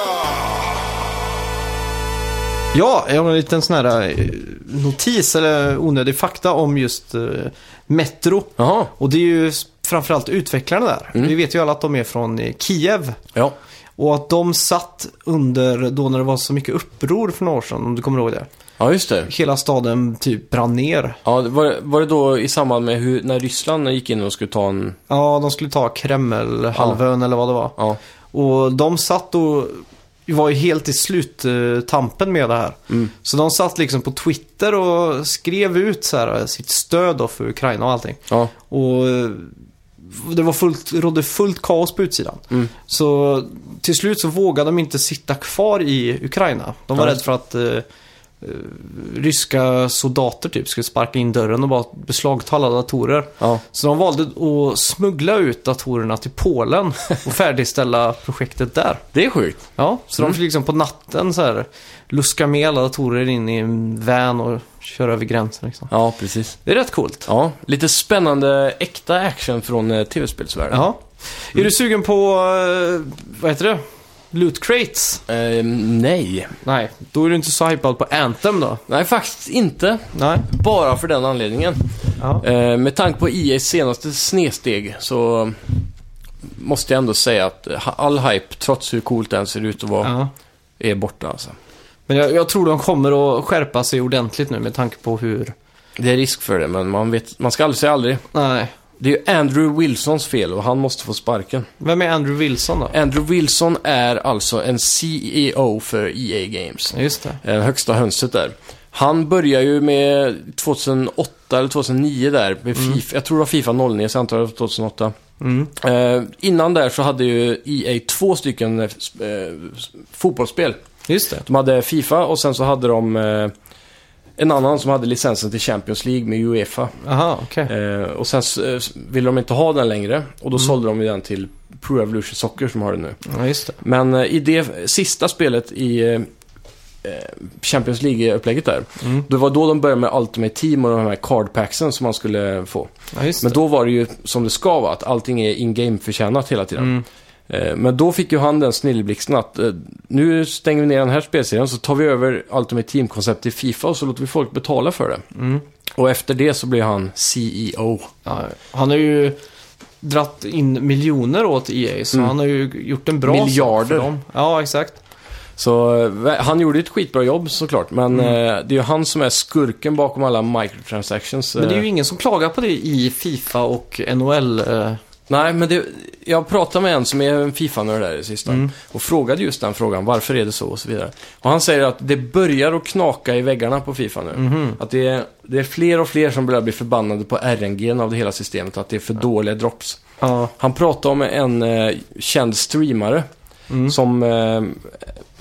Speaker 1: Ja, jag har en liten sån här eh, notis eller onödig fakta om just eh, Metro.
Speaker 2: Jaha,
Speaker 1: Och det är ju s- framförallt utvecklarna där. Vi vet ju alla att de är från eh, Kiev.
Speaker 2: ja.
Speaker 1: Och att de satt under då när det var så mycket uppror för några år sedan, om du kommer ihåg det.
Speaker 2: Ja, just det.
Speaker 1: Hela staden typ brann ner.
Speaker 2: Ja, det var, var det då i samband med hur, när Ryssland gick in och skulle ta en...
Speaker 1: Ja, de skulle ta Kremlhalvön eller vad det var.
Speaker 2: Ja,
Speaker 1: Och de satt och var ju helt i sluttampen med det här. Så de satt liksom på Twitter och skrev ut så här, eh, sitt stöd då för Ukraina och allting.
Speaker 2: ja,
Speaker 1: Och eh, det var fullt, rådde fullt kaos på utsidan.
Speaker 2: Mm.
Speaker 1: Så till slut så vågade de inte sitta kvar i Ukraina. De var
Speaker 2: Ja,
Speaker 1: rädda för att eh, eh, ryska soldater typ skulle sparka in dörren och bara beslagta alla datorer.
Speaker 2: ja.
Speaker 1: Så de valde att smuggla ut datorerna till Polen <laughs> och färdigställa projektet där.
Speaker 2: Det är sjukt.
Speaker 1: Ja, så de fick liksom på natten så här luska med alla datorer in i en van och köra över gränsen liksom.
Speaker 2: Ja, precis.
Speaker 1: Det är rätt coolt.
Speaker 2: Ja, lite spännande äkta action från eh, tv-spelsvärlden.
Speaker 1: Ja. Är du sugen på, eh, vad heter det? Loot crates?
Speaker 2: Eh, nej.
Speaker 1: Nej, då är du inte så hypad på Anthem då?
Speaker 2: Nej, faktiskt inte.
Speaker 1: Nej.
Speaker 2: Bara för den anledningen.
Speaker 1: Ja.
Speaker 2: Eh, med tanke på IAs senaste snedsteg så måste jag ändå säga att eh, all hype, trots hur coolt den ser ut att vara,
Speaker 1: ja.
Speaker 2: är borta alltså.
Speaker 1: Men jag, jag tror de kommer att skärpa sig ordentligt nu med tanke på hur...
Speaker 2: Det är risk för det, men man, vet, man ska aldrig säga aldrig.
Speaker 1: Nej.
Speaker 2: Det är ju Andrew Wilsons fel och han måste få sparken.
Speaker 1: Vem är Andrew Wilson då?
Speaker 2: Andrew Wilson är alltså en CEO för EA Games.
Speaker 1: Ja, Just det.
Speaker 2: eh, högsta hönset där. Han börjar ju med 2008 eller 2009 där, med FIFA, jag tror det var Fifa 09, så jag antar det var 2008.
Speaker 1: Mm.
Speaker 2: Eh, innan där så hade ju EA två stycken eh, s- eh, s- fotbollsspel.
Speaker 1: Just det.
Speaker 2: De hade Fifa och sen så hade de eh, en annan som hade licensen till Champions League med Uefa.
Speaker 1: Aha, okej.
Speaker 2: Eh, och sen s- eh, s- ville de inte ha den längre och då sålde de ju den till Pro Evolution Soccer som har den nu.
Speaker 1: Ja, just det.
Speaker 2: Men eh, i det sista spelet i eh, eh, Champions League-upplägget där,
Speaker 1: Mm.
Speaker 2: det var då de började med Ultimate Team och de här cardpacksen som man skulle få.
Speaker 1: Ja, just
Speaker 2: Men
Speaker 1: det.
Speaker 2: då var det ju som det ska vara, att allting är in-game-förtjänat hela tiden.
Speaker 1: Mm.
Speaker 2: Eh, Men då fick ju han den snilleblixten att eh, nu stänger vi ner den här spelserien så tar vi över Ultimate Team-konceptet i Fifa och så låter vi folk betala för det.
Speaker 1: Mm.
Speaker 2: Och efter det så blir han E CEO.
Speaker 1: Ja, han har ju dratt in miljoner åt EA, så
Speaker 2: Mm.
Speaker 1: han har ju gjort en bra sak
Speaker 2: Miljarder.
Speaker 1: för dem. Ja, exakt.
Speaker 2: Så eh, vä- han gjorde ett skitbra jobb såklart,
Speaker 1: Mm.
Speaker 2: men eh, det är ju han som är skurken bakom alla microtransactions.
Speaker 1: Men det är
Speaker 2: eh.
Speaker 1: ju ingen som klagar på det i Fifa och NHL. eh.
Speaker 2: Nej, men det, jag pratade med en som är en Fifa-nörd där i sista och frågade just den frågan, varför är det så och så vidare. Och han säger att det börjar att knaka i väggarna på Fifa nu. Att det är, det är fler och fler som börjar bli förbannade på RNG av det hela systemet, att det är för dåliga drops.
Speaker 1: Ja,
Speaker 2: Han pratade om en eh, känd streamare som, eh,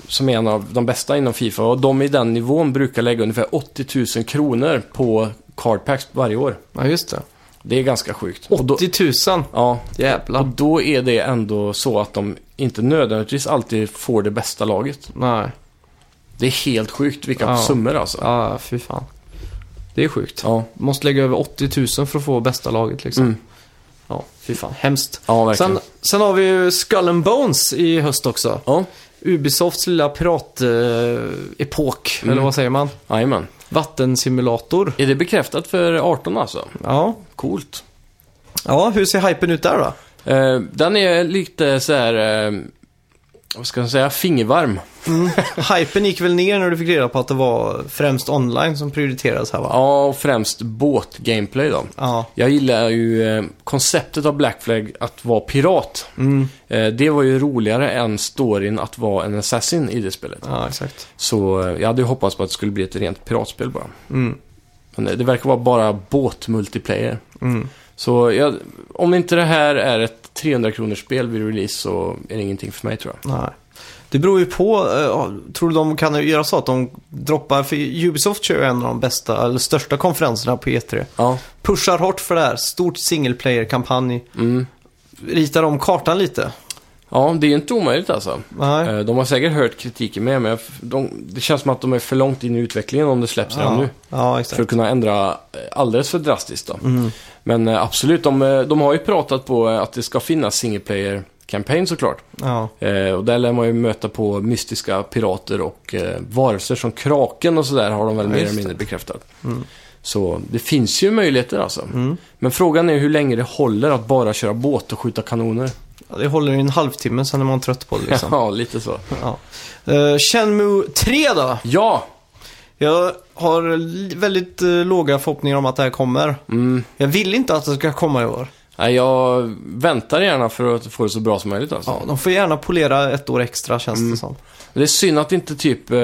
Speaker 2: som är en av de bästa inom Fifa. Och de i den nivån brukar lägga ungefär 80 000 kronor på cardpacks varje år.
Speaker 1: Ja, just det.
Speaker 2: Det är ganska sjukt. Och då,
Speaker 1: 80 000.
Speaker 2: ja, och
Speaker 1: Jävlar.
Speaker 2: då är det ändå så att de inte nödvändigtvis alltid får det bästa laget.
Speaker 1: Nej.
Speaker 2: Det är helt sjukt vilka
Speaker 1: Ja.
Speaker 2: summor alltså.
Speaker 1: Ja, fy fan. Det är sjukt.
Speaker 2: Ja,
Speaker 1: Måste lägga över 80 000 för att få bästa laget liksom.
Speaker 2: Mm.
Speaker 1: Ja, fy fan. Hemskt.
Speaker 2: ja verkligen.
Speaker 1: Sen, sen har vi ju Skull and Bones i höst också.
Speaker 2: Ja,
Speaker 1: Ubisofts lilla piratepok,
Speaker 2: Mm.
Speaker 1: eller vad säger man?
Speaker 2: jajamän.
Speaker 1: Vattensimulator.
Speaker 2: Är det bekräftat för 18 alltså?
Speaker 1: Ja.
Speaker 2: Coolt.
Speaker 1: ja, hur ser hypen ut där då?
Speaker 2: Eh, den är lite så här, eh, vad ska man säga, fingervarm.
Speaker 1: Hypen gick väl ner när du fick reda på att det var främst online som prioriterades här va?
Speaker 2: Ja, och främst båt-gameplay då.
Speaker 1: Ja.
Speaker 2: Jag gillar ju eh, konceptet av Black Flag att vara pirat.
Speaker 1: Mm.
Speaker 2: Eh, det var ju roligare än storyn att vara en assassin i det spelet.
Speaker 1: Ja, exakt.
Speaker 2: Så eh, jag hade ju hoppats på att det skulle bli ett rent piratspel bara.
Speaker 1: Mm.
Speaker 2: Men det det verkar vara bara båt-multiplayer.
Speaker 1: Mm.
Speaker 2: Så jag, om inte det här är ett 300 kronors spel vid release så är det ingenting för mig tror jag.
Speaker 1: Nej. Det beror ju på. eh, ja, tror du de kan göra så att de droppar? För Ubisoft kör ju en av de bästa, eller största konferenserna på E3.
Speaker 2: Ja,
Speaker 1: Pushar hårt för det här. Stort single player-kampanj.
Speaker 2: mm.
Speaker 1: Ritar om kartan lite.
Speaker 2: ja det är ju inte omöjligt alltså.
Speaker 1: Nej.
Speaker 2: Eh, De har säkert hört kritiken med, men jag f- de, det känns som att de är för långt in i utvecklingen om det släpps redan
Speaker 1: ja.
Speaker 2: nu.
Speaker 1: ja,
Speaker 2: För
Speaker 1: exakt.
Speaker 2: att kunna ändra eh, alldeles för drastiskt då.
Speaker 1: Mm.
Speaker 2: Men eh, absolut, de, eh, de har ju pratat på eh, att det ska finnas single player campaign såklart.
Speaker 1: Ja.
Speaker 2: Eh, och där lär man ju möta på mystiska pirater och eh, varelser som kraken och sådär har de väl
Speaker 1: Ja,
Speaker 2: mer
Speaker 1: just det.
Speaker 2: eller
Speaker 1: Mm.
Speaker 2: mindre bekräftat. Så det finns ju möjligheter alltså. Men frågan är hur länge det håller att bara köra båt och skjuta kanoner.
Speaker 1: Ja, Det håller i en halvtimme, sen är man trött på det liksom.
Speaker 2: Ja, lite så.
Speaker 1: <laughs> Ja. Eh, Shenmue 3 då?
Speaker 2: Ja!
Speaker 1: Jag har li- väldigt eh, låga förhoppningar om att det här kommer.
Speaker 2: Mm.
Speaker 1: Jag vill inte att det ska komma i år.
Speaker 2: Nej, jag väntar gärna för att få det så bra som möjligt alltså.
Speaker 1: Ja, de får gärna polera ett år extra känns
Speaker 2: Mm.
Speaker 1: det som.
Speaker 2: Men Det är synd att inte typ... Eh,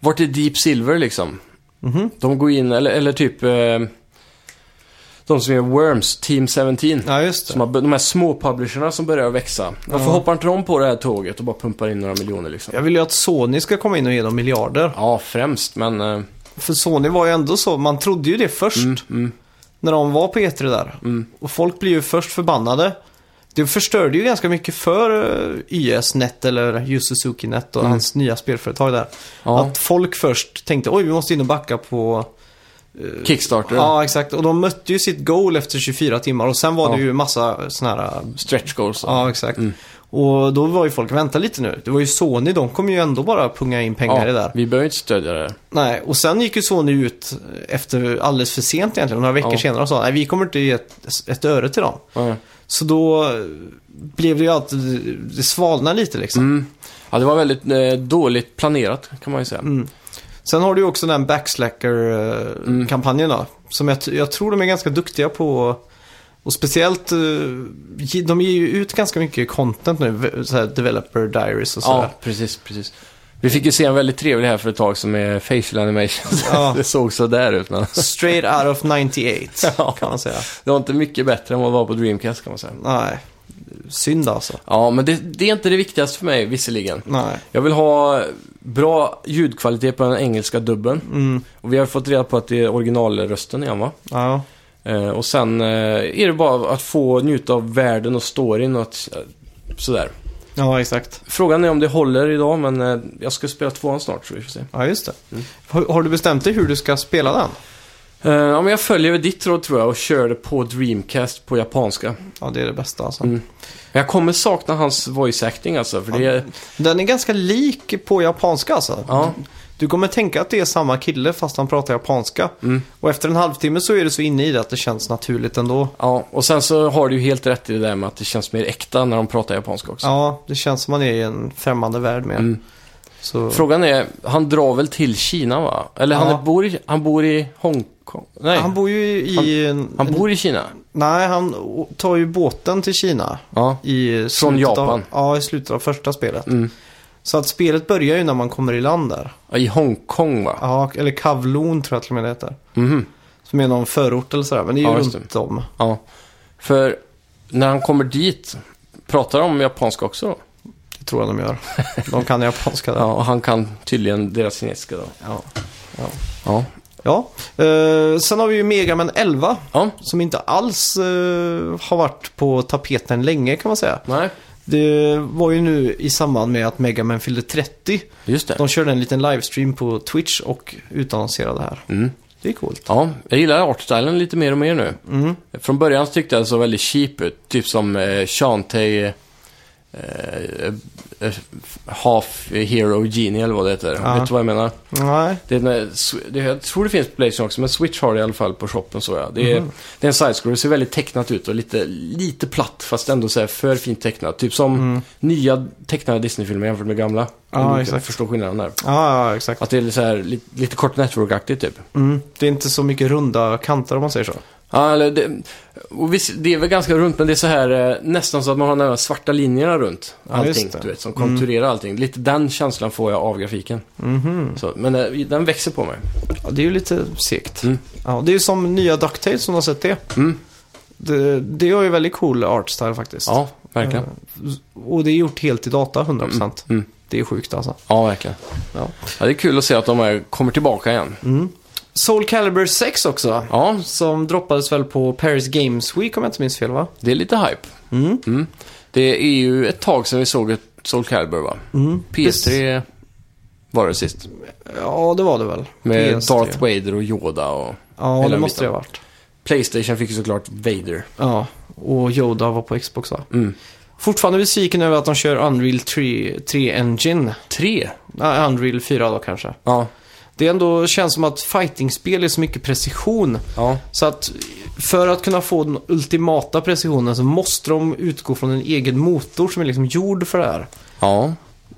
Speaker 2: vart är Deep Silver liksom?
Speaker 1: Mhm.
Speaker 2: De går in, eller, eller typ... Eh, de som är Worms, Team 17.
Speaker 1: Ja, just det.
Speaker 2: Som har, de här små publisherna som börjar växa. Varför
Speaker 1: Ja.
Speaker 2: hoppar inte de på det här tåget och bara pumpar in några miljoner liksom?
Speaker 1: Jag vill ju att Sony ska komma in och ge dem miljarder.
Speaker 2: Ja, främst, men... Eh,
Speaker 1: För Sony var ju ändå så, man trodde ju det först
Speaker 2: mm, mm,
Speaker 1: när de var på E3 där.
Speaker 2: Mm.
Speaker 1: Och folk blir ju först förbannade. Det förstörde ju ganska mycket för eh, YS-net eller Yu Suzuki-net och
Speaker 2: Mm.
Speaker 1: hans nya spelföretag där.
Speaker 2: ja.
Speaker 1: Att folk först tänkte oj vi måste in och backa på...
Speaker 2: Kickstarter,
Speaker 1: Ja exakt och de mötte ju sitt goal efter 24 timmar och sen var
Speaker 2: Ja.
Speaker 1: det ju massa sådana här...
Speaker 2: stretch goals.
Speaker 1: Ja exakt.
Speaker 2: Mm.
Speaker 1: Och då var ju folk, vänta lite nu. Det var ju Sony, de kommer ju ändå bara punga in pengar i det där.
Speaker 2: vi behöver inte stödja det här.
Speaker 1: Nej, och sen gick ju Sony ut efter alldeles för sent egentligen, några veckor
Speaker 2: Ja.
Speaker 1: senare och sa nej vi kommer inte ge ett, ett öre till dem.
Speaker 2: Ja.
Speaker 1: Så då eh, blev det ju att det svalnade lite liksom.
Speaker 2: Mm. Ja, det var väldigt eh, dåligt planerat kan man ju säga.
Speaker 1: Mm. Sen har du ju också den
Speaker 2: Mm.
Speaker 1: backslacker-kampanjen då. Som jag, t- jag tror de är ganska duktiga på. Och speciellt, eh, ge- de ger ju ut ganska mycket content nu. v- Så här developer diaries och
Speaker 2: Ja,
Speaker 1: sådär.
Speaker 2: precis, precis. Vi fick ju se en väldigt trevlig här för ett tag som är facial <laughs> animations.
Speaker 1: Ja.
Speaker 2: det såg så där ut, men
Speaker 1: Straight out of 98
Speaker 2: <laughs> Ja.
Speaker 1: kan man säga.
Speaker 2: det var inte mycket bättre än vad det var på Dreamcast kan man säga.
Speaker 1: Nej, synd alltså.
Speaker 2: Ja, men det, det är inte det viktigaste för mig, visserligen.
Speaker 1: Nej.
Speaker 2: Jag vill ha bra ljudkvalitet på den engelska dubben.
Speaker 1: Mm,
Speaker 2: Och vi har fått reda på att det är originalrösten igen, va?
Speaker 1: ja.
Speaker 2: Eh, och sen eh, är det bara att få njuta av världen och storyn och att, eh, sådär.
Speaker 1: ja, exakt.
Speaker 2: Frågan är om det håller idag, men eh, jag ska spela tvåan snart, så vi får se.
Speaker 1: Ja, just det.
Speaker 2: Mm.
Speaker 1: Har, har du bestämt dig hur du ska spela den?
Speaker 2: Eh, ja, men jag följer väl ditt råd tror jag och kör det på Dreamcast på japanska.
Speaker 1: Ja, det är det bästa alltså.
Speaker 2: Mm. Men jag kommer sakna hans voice acting alltså, för det är...
Speaker 1: Den är ganska lik på japanska alltså.
Speaker 2: Ja,
Speaker 1: Du kommer tänka att det är samma kille fast han pratar japanska.
Speaker 2: Mm.
Speaker 1: Och efter en halvtimme så är du så inne i det att det känns naturligt ändå.
Speaker 2: ja. Och sen så har du ju helt rätt i det där med att det känns mer äkta när de pratar japanska också.
Speaker 1: Ja, det känns som man är i en främmande värld med.
Speaker 2: Mm.
Speaker 1: Så,
Speaker 2: Frågan är, han drar väl till Kina va? Eller
Speaker 1: Ja.
Speaker 2: han, bor i, han bor i Hongkong? Nej,
Speaker 1: Han
Speaker 2: han,
Speaker 1: bor ju i...
Speaker 2: bor i Kina.
Speaker 1: Nej, han å- tar ju båten till Kina.
Speaker 2: Ja,
Speaker 1: I
Speaker 2: Från
Speaker 1: slutet
Speaker 2: Japan.
Speaker 1: Av, ja, i slutet av första spelet.
Speaker 2: Mm.
Speaker 1: Så att spelet börjar ju när man kommer i land där.
Speaker 2: Ja, i Hongkong va?
Speaker 1: Ja, eller Kavlon tror jag till och med det heter.
Speaker 2: Mhm.
Speaker 1: Som är någon förort eller sådär. Men det är ju
Speaker 2: Ja, just
Speaker 1: runt om.
Speaker 2: Ja. För när han kommer dit, pratar de japanska också då?
Speaker 1: Det tror jag de
Speaker 2: <laughs>
Speaker 1: gör. De kan japanska där.
Speaker 2: Ja, och han kan tydligen deras kinesiska då.
Speaker 1: Ja.
Speaker 2: Ja.
Speaker 1: ja. Eh, sen har vi ju Mega Man 11.
Speaker 2: Ja.
Speaker 1: Som inte alls eh, har varit på tapeten länge kan man säga.
Speaker 2: Nej,
Speaker 1: Det var ju nu i samband med att Mega Man fyllde 30.
Speaker 2: just det.
Speaker 1: De körde en liten livestream på Twitch och utannonserade det här.
Speaker 2: Mm.
Speaker 1: Det är coolt.
Speaker 2: Ja, jag gillar artstylen lite mer och mer nu.
Speaker 1: Mm.
Speaker 2: Från början så tyckte jag det såg väldigt cheap ut. Typ som eh, Shantae eh, eh, Half Hero Genie eller vad det heter.
Speaker 1: Ja.
Speaker 2: Vet du vad jag menar?
Speaker 1: Nej.
Speaker 2: Det är, en, det, jag tror det finns på Playstation också, men Switch har det i alla fall på shoppen så ja. Det är,
Speaker 1: Mm-hmm.
Speaker 2: det är en side-scroller, det ser väldigt tecknat ut och lite, lite platt fast ändå så här för fint tecknat. Typ som nya tecknade Disney-filmer jämfört med gamla.
Speaker 1: Mm. Ja,
Speaker 2: Om du
Speaker 1: exakt.
Speaker 2: förstår skillnaden där.
Speaker 1: Ja, ja, exakt.
Speaker 2: Att det är så här, lite, lite kort network-aktigt typ.
Speaker 1: Mm. Det är inte så mycket runda kanter om man säger så.
Speaker 2: Ja, eller det, och visst, det är väl ganska runt, men det är så här eh, nästan så att man har de här svarta linjerna runt allting.
Speaker 1: just det. Mm.
Speaker 2: du vet, som konturerar allting. Lite den känslan får jag av grafiken.
Speaker 1: Mhm.
Speaker 2: Så, men eh, den växer på mig.
Speaker 1: Ja, det är ju lite segt.
Speaker 2: Mm.
Speaker 1: Ja, det är ju som nya DuckTales som har sett det.
Speaker 2: Mm.
Speaker 1: Det, det har ju väldigt cool artstyle faktiskt.
Speaker 2: Ja, verkligen.
Speaker 1: Eh, Och det är gjort helt i data, 100%.
Speaker 2: Mm.
Speaker 1: Det är sjukt alltså.
Speaker 2: Ja, verkligen.
Speaker 1: Ja.
Speaker 2: Ja, det är kul att se att de här kommer tillbaka igen.
Speaker 1: Mm. Soul Calibur 6 också.
Speaker 2: Ja,
Speaker 1: Som droppades väl på Paris Games Week om jag inte minns fel va?
Speaker 2: det är lite hype.
Speaker 1: Mm.
Speaker 2: Det är ju ett tag sedan vi såg ett Soul Calibur va?
Speaker 1: Mm.
Speaker 2: PS3 var det sist.
Speaker 1: Ja, det var det väl.
Speaker 2: Med
Speaker 1: PS3.
Speaker 2: Darth Vader och Yoda och...
Speaker 1: Ja,
Speaker 2: hela
Speaker 1: det måste det ha
Speaker 2: biten.
Speaker 1: varit.
Speaker 2: Playstation fick ju såklart Vader.
Speaker 1: Ja, och Yoda var på Xbox va?
Speaker 2: Mm.
Speaker 1: Fortfarande besviken över att de kör Unreal 3, 3 Engine.
Speaker 2: Tre?
Speaker 1: Nej, Unreal 4 då kanske.
Speaker 2: Ja.
Speaker 1: Det ändå känns som att fightingspel är så mycket precision.
Speaker 2: Ja.
Speaker 1: Så att för att kunna få den ultimata precisionen så måste de utgå från en egen motor som är liksom gjord för det här.
Speaker 2: Ja.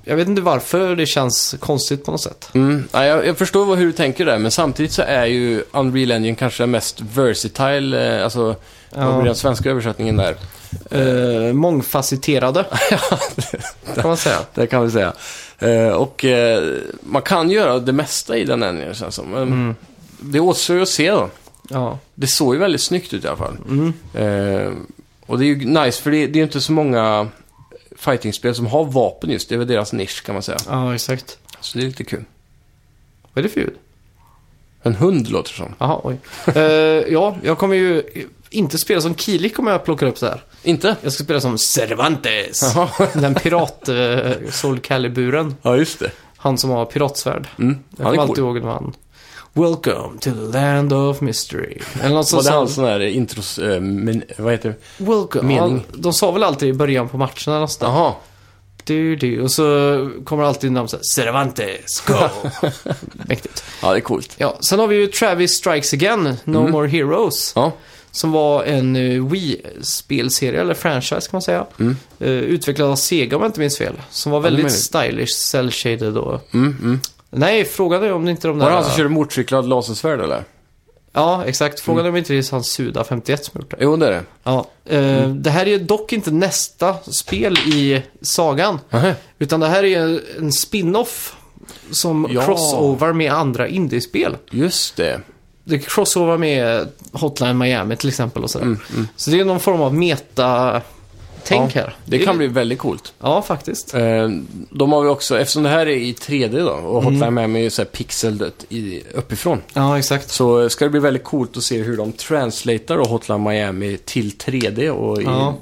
Speaker 1: Jag vet inte varför det känns konstigt på något sätt.
Speaker 2: Mm. Ja, jag, jag förstår vad- hur du tänker där, men samtidigt så är ju Unreal Engine kanske den mest versatile, eh, alltså, vad blir den svenska översättningen där?
Speaker 1: Eh, mångfacetterade. kan man säga.
Speaker 2: Det kan vi säga. Eh, och eh, man kan göra det mesta i den enginen känns som. Men Det återstår ju att se då.
Speaker 1: Ja.
Speaker 2: Det såg ju väldigt snyggt ut i alla fall. Eh, och det är ju nice för det, det är ju inte så många fightingspel som har vapen just. Det är väl deras nisch kan man säga.
Speaker 1: ja, exakt.
Speaker 2: Så det är lite kul.
Speaker 1: Vad är det för ljud?
Speaker 2: En hund låter det som.
Speaker 1: Jaha, oj. Eh, ja, jag kommer ju inte spela som Kilik om jag plockar upp det här.
Speaker 2: Inte?
Speaker 1: Jag ska spela som Cervantes.
Speaker 2: Jaha.
Speaker 1: Den pirat uh, Sol Caliburen.
Speaker 2: Ja, just det.
Speaker 1: Han som har piratsvärd.
Speaker 2: Mm.
Speaker 1: Jag
Speaker 2: Han
Speaker 1: kommer
Speaker 2: är
Speaker 1: alltid
Speaker 2: cool.
Speaker 1: ihåg det var han. Welcome to the land of mystery. Eller något sånt.
Speaker 2: Var det
Speaker 1: som-
Speaker 2: hans sån här intros... Eh, men, vad heter det?
Speaker 1: Welcome.
Speaker 2: mening?
Speaker 1: Ja, de sa väl alltid i början på matcherna nästan.
Speaker 2: Jaha.
Speaker 1: Du, du. Och så kommer alltid namn såhär, Cervantes,
Speaker 2: <laughs>
Speaker 1: go! Mäktigt.
Speaker 2: Ja, det är coolt.
Speaker 1: Ja, sen har vi ju Travis Strikes Again, No
Speaker 2: Mm.
Speaker 1: More Heroes.
Speaker 2: Ja.
Speaker 1: Som var en eh, Wii-spelserie, eller franchise kan man säga. Eh, utvecklad av Sega om jag inte minns fel. Som var
Speaker 2: Mm. det är
Speaker 1: väldigt
Speaker 2: möjligt.
Speaker 1: stylish, cel-shaded och...
Speaker 2: Mm, mm.
Speaker 1: Nej, frågan är om det inte de
Speaker 2: Var
Speaker 1: där...
Speaker 2: det han som körde motorcyklad lasersvärd eller?
Speaker 1: Ja, exakt. Frågan är om inte det är han Suda 51 som gjort det.
Speaker 2: Mm. Jo, det är det.
Speaker 1: Ja. Eh, Det här är ju dock inte nästa spel i sagan.
Speaker 2: Nähä.
Speaker 1: Utan det här är en spin-off. Som
Speaker 2: Ja.
Speaker 1: crossover med andra indiespel.
Speaker 2: Just det.
Speaker 1: Det crossover med Hotline Miami till exempel och
Speaker 2: Mm,
Speaker 1: sådär. Så det är någon form av meta-tänk
Speaker 2: ja,
Speaker 1: här.
Speaker 2: Det kan bli väldigt coolt.
Speaker 1: Ja, faktiskt.
Speaker 2: Eh, De har vi också, eftersom det här är i 3D då och Hotline Miami är ju så här pixeldött i, uppifrån.
Speaker 1: Ja, exakt.
Speaker 2: Så eh, ska det bli väldigt coolt att se hur de translatar då Hotline Miami till 3D och i,
Speaker 1: Ja.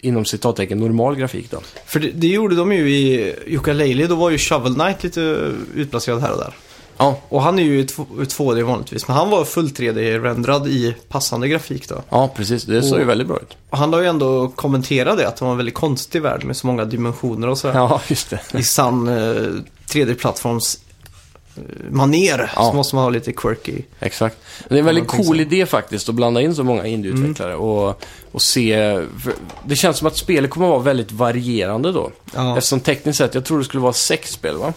Speaker 2: inom citattecken normal grafik då.
Speaker 1: För det, det gjorde de ju i Jukka Leili. Då var ju Shovel Knight lite utplacerad här och där.
Speaker 2: Ja,
Speaker 1: Och han är ju i tv- 2D vanligtvis, men han var full 3D-rendrad i passande grafik då.
Speaker 2: ja precis. Det såg ju
Speaker 1: Och-
Speaker 2: väldigt bra ut.
Speaker 1: Och han har ju ändå kommenterat det, att det var en väldigt konstig värld med så många dimensioner och sådär.
Speaker 2: Ja, just det.
Speaker 1: I sann eh, 3D-plattforms eh, maner
Speaker 2: Ja.
Speaker 1: så måste man ha lite quirky.
Speaker 2: Exakt. Men det är en väldigt
Speaker 1: någonting Mm.
Speaker 2: cool
Speaker 1: så.
Speaker 2: idé faktiskt att blanda in så många indieutvecklare och, och se... för Det känns som att spelet kommer att vara väldigt varierande då.
Speaker 1: Ja. Mm.
Speaker 2: Eftersom tekniskt sett, jag tror det skulle vara sex spel va?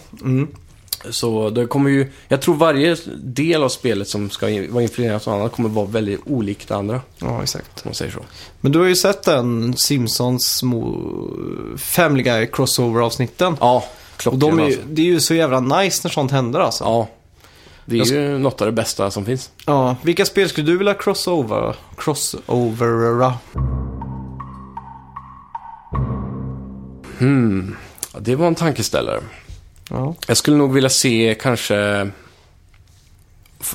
Speaker 2: Så det kommer ju... Jag tror varje del av spelet som ska in- vara influerat av annat kommer vara väldigt olikt det andra.
Speaker 1: Ja, exakt.
Speaker 2: Om man säger så.
Speaker 1: Men du har ju sett den Simpsons mo- Family Guy Crossover-avsnitten.
Speaker 2: Ja,
Speaker 1: och
Speaker 2: klockrent
Speaker 1: de är, ju-
Speaker 2: alltså.
Speaker 1: det är ju så jävla nice när sånt händer alltså.
Speaker 2: Ja. Det är
Speaker 1: Jag
Speaker 2: ju något av det bästa som finns.
Speaker 1: Ja, vilka spel skulle du vilja crossover? Crossovera?
Speaker 2: Ja, det var en tankeställare.
Speaker 1: Ja.
Speaker 2: Jag skulle nog vilja se kanske...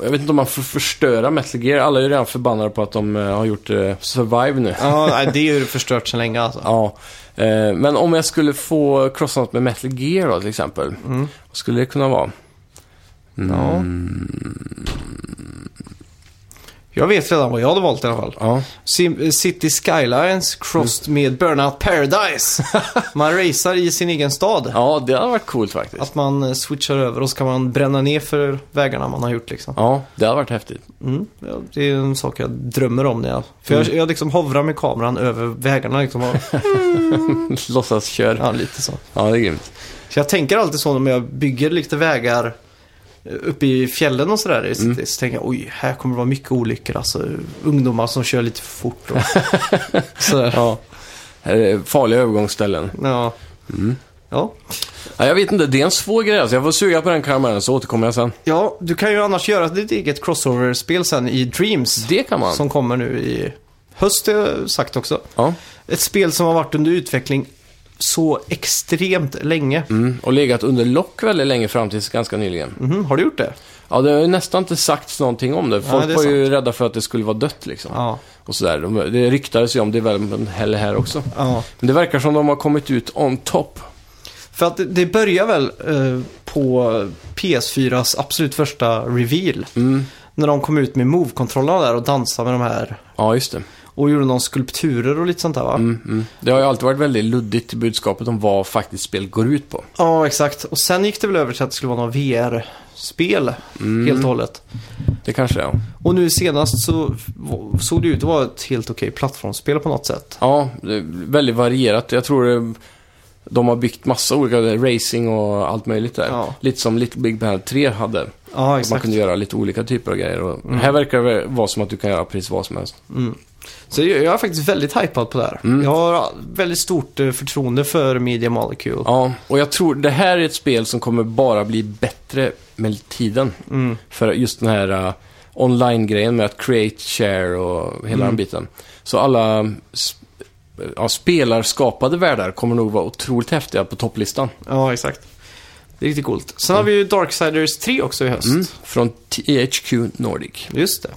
Speaker 2: Jag vet inte om man får förstöra Metal Gear. Alla är ju redan förbannade på att de eh, har gjort eh, Survive nu.
Speaker 1: ja, nej, det är ju förstört sedan länge alltså.
Speaker 2: Ja, eh, men om jag skulle få crossa något med Metal Gear då till exempel. Vad skulle det kunna vara?
Speaker 1: Ja.
Speaker 2: Mm.
Speaker 1: Jag vet redan vad jag hade valt i alla fall.
Speaker 2: Ja.
Speaker 1: Sim- eh, City Skylines
Speaker 2: Mm.
Speaker 1: crossed med Burnout
Speaker 2: <laughs>
Speaker 1: Paradise. Man racear i sin egen stad.
Speaker 2: ja, det hade varit coolt faktiskt.
Speaker 1: Att man eh, switchar över och så kan man bränna ner för vägarna man har gjort liksom.
Speaker 2: Ja, det hade varit häftigt. <laughs>
Speaker 1: Mm. Ja, Det är en sak jag drömmer om. När jag... För
Speaker 2: Mm.
Speaker 1: jag, jag liksom hovrar med kameran över vägarna liksom. Och,
Speaker 2: <laughs> Låtsas kör. Ja.
Speaker 1: ja, lite så.
Speaker 2: det är grymt.
Speaker 1: Så jag tänker alltid så när jag bygger lite vägar eh, uppe i fjällen och sådär. Mm. Så tänker jag, oj, här kommer det vara mycket olyckor. Alltså ungdomar som kör lite för fort
Speaker 2: <laughs>
Speaker 1: och sådär.
Speaker 2: Ja. Eh, Farliga övergångsställen.
Speaker 1: Ja.
Speaker 2: Mm.
Speaker 1: ja.
Speaker 2: Ja, jag vet inte, det är en svår grej alltså. Jag får suga på den karamellen så återkommer jag sen.
Speaker 1: Ja, du kan ju annars göra ditt eget crossover-spel sen i Dreams.
Speaker 2: Det kan man.
Speaker 1: Som kommer nu i höst, har jag sagt också.
Speaker 2: Ja.
Speaker 1: Ett spel som har varit under utveckling så extremt länge.
Speaker 2: Mm. Och legat under lock väldigt länge fram tills ganska nyligen.
Speaker 1: Mhm, har du gjort det?
Speaker 2: Ja, det har ju nästan inte sagts någonting om det. Folk
Speaker 1: det är
Speaker 2: var ju rädda för att det skulle vara dött liksom.
Speaker 1: Ja.
Speaker 2: Och sådär. De, det ryktades ju om Development Hell här också.
Speaker 1: ja.
Speaker 2: Men det verkar som de har kommit ut on top.
Speaker 1: För att det, det börjar väl eh, på PS4s absolut första reveal.
Speaker 2: Mm.
Speaker 1: När de kom ut med Move-kontrollerna där och dansade med de här.
Speaker 2: Ja, just det.
Speaker 1: Och gjorde någon skulpturer och lite sånt där va?
Speaker 2: Mm, mm. Det har ju alltid varit väldigt luddigt i budskapet om vad faktiskt spel går ut på.
Speaker 1: Ja, exakt. Och sen gick det väl över till att det skulle vara något VR-spel
Speaker 2: Mm.
Speaker 1: helt och hållet.
Speaker 2: Det kanske det är.
Speaker 1: Och nu senast så v- såg det ut att vara ett helt okej plattformsspel på något sätt.
Speaker 2: Ja, det är väldigt varierat. Jag tror eh, de har byggt massa olika racing och allt möjligt där.
Speaker 1: Ja.
Speaker 2: Lite som Little Big Planet 3 hade.
Speaker 1: Ja,
Speaker 2: Man
Speaker 1: exakt. Mm.
Speaker 2: kunde göra lite olika typer av grejer. Och Här verkar det vara som att du kan göra precis vad som helst.
Speaker 1: Så jag jag är faktiskt väldigt hypad på det här.
Speaker 2: Mm.
Speaker 1: Jag har väldigt stort eh, förtroende för Media Molecule.
Speaker 2: Ja, och jag tror det här är ett spel som kommer bara bli bättre med tiden. För just den här eh, online-grejen med att create, share och hela den biten. Så alla sp- ja, spelarskapade världar kommer nog vara otroligt häftiga på topplistan.
Speaker 1: Ja, exakt. Det är riktigt coolt. Sen har vi ju Darksiders 3 också i höst.
Speaker 2: Från THQ Nordic.
Speaker 1: Just det.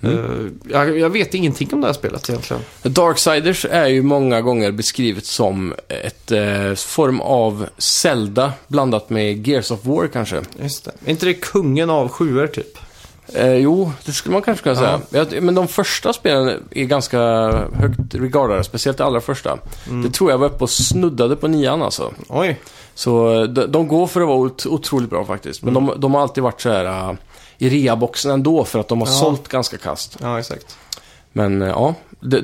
Speaker 2: Mm.
Speaker 1: Eh, jag, jag vet ingenting om det här spelet egentligen.
Speaker 2: Darksiders är ju många gånger beskrivet som ett eh, form av Zelda blandat med Gears of War kanske.
Speaker 1: Just det. Är inte det kungen av sjuor typ?
Speaker 2: Eh, jo, det skulle man kanske kunna säga. Jag, men de första spelen är ganska högt regardade, speciellt det allra första.
Speaker 1: Mm.
Speaker 2: Det tror jag var uppe och snuddade på nian alltså.
Speaker 1: Oj.
Speaker 2: Så eh, de, de går för att vara ot- otroligt bra faktiskt.
Speaker 1: Mm.
Speaker 2: Men de, de har alltid varit så här eh, i rea-boxen ändå för att de har
Speaker 1: Ja.
Speaker 2: sålt ganska kast.
Speaker 1: Ja, exakt.
Speaker 2: Men eh, ja, The-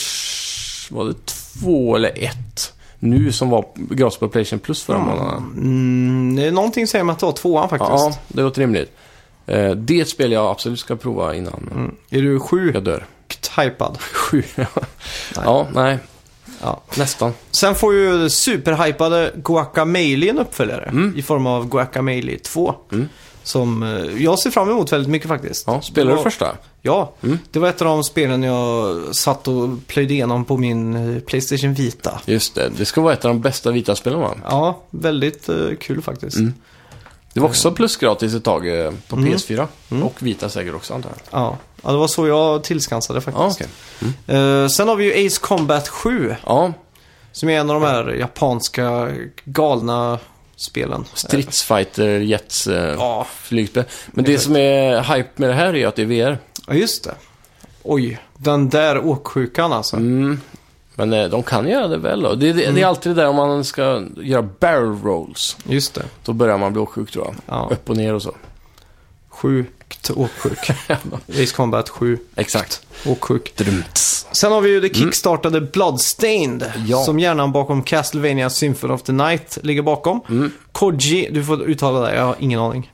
Speaker 2: Darksiders var det två eller ett nu som var gratis på Playstation Plus förra månaden.
Speaker 1: Mm, det är någonting säger mig att det var tvåan faktiskt.
Speaker 2: Ja, det låter rimligt. Eh, Det är ett spel jag absolut ska prova innan
Speaker 1: Är du sjukt
Speaker 2: jag dör.
Speaker 1: hypad?
Speaker 2: Sju. ja, nej.
Speaker 1: Ja.
Speaker 2: Nästan.
Speaker 1: Sen får ju superhypade Guacamelee en uppföljare
Speaker 2: Mm.
Speaker 1: i form av Guacamelee 2. Som eh, jag ser fram emot väldigt mycket faktiskt.
Speaker 2: Ja, spelar
Speaker 1: Det
Speaker 2: du
Speaker 1: var-
Speaker 2: första?
Speaker 1: Ja, det var ett av de spelen jag satt och plöjde igenom på min eh, Playstation Vita.
Speaker 2: Just det, det ska vara ett av de bästa vita spelen va?
Speaker 1: Ja, väldigt eh, kul faktiskt.
Speaker 2: Det var också plusgratis ett tag eh, på PS4. Och vita säkert också antar jag.
Speaker 1: Mm. Ja. ja, det var så jag tillskansade faktiskt.
Speaker 2: Ja, okej.
Speaker 1: Eh, sen har vi ju Ace Combat 7,
Speaker 2: Ja,
Speaker 1: som är en av de här japanska galna spelen. Eh,
Speaker 2: stridsfighter, jets, eh,
Speaker 1: Ja,
Speaker 2: flygspel. Men det
Speaker 1: Exakt.
Speaker 2: som är hype med det här är ju att det är VR.
Speaker 1: Ja, just det. Oj, den där åksjukan alltså.
Speaker 2: Mm. Men eh, de kan göra det väl då. Det, det,
Speaker 1: Mm.
Speaker 2: det är alltid det där om man ska göra barrel rolls.
Speaker 1: Just det.
Speaker 2: Då börjar man bli åksjuk tror jag.
Speaker 1: Ja.
Speaker 2: Upp och ner och så. <laughs>
Speaker 1: Sjukt åksjuk. Ace Combat 7,
Speaker 2: Exakt.
Speaker 1: åksjuk.
Speaker 2: Drumts.
Speaker 1: Sen har vi ju det kickstartade Bloodstained.
Speaker 2: Mm. Ja.
Speaker 1: Som hjärnan bakom Castlevania Symphony of the Night ligger bakom.
Speaker 2: Mm.
Speaker 1: Koji, du får uttala det, jag har ingen aning.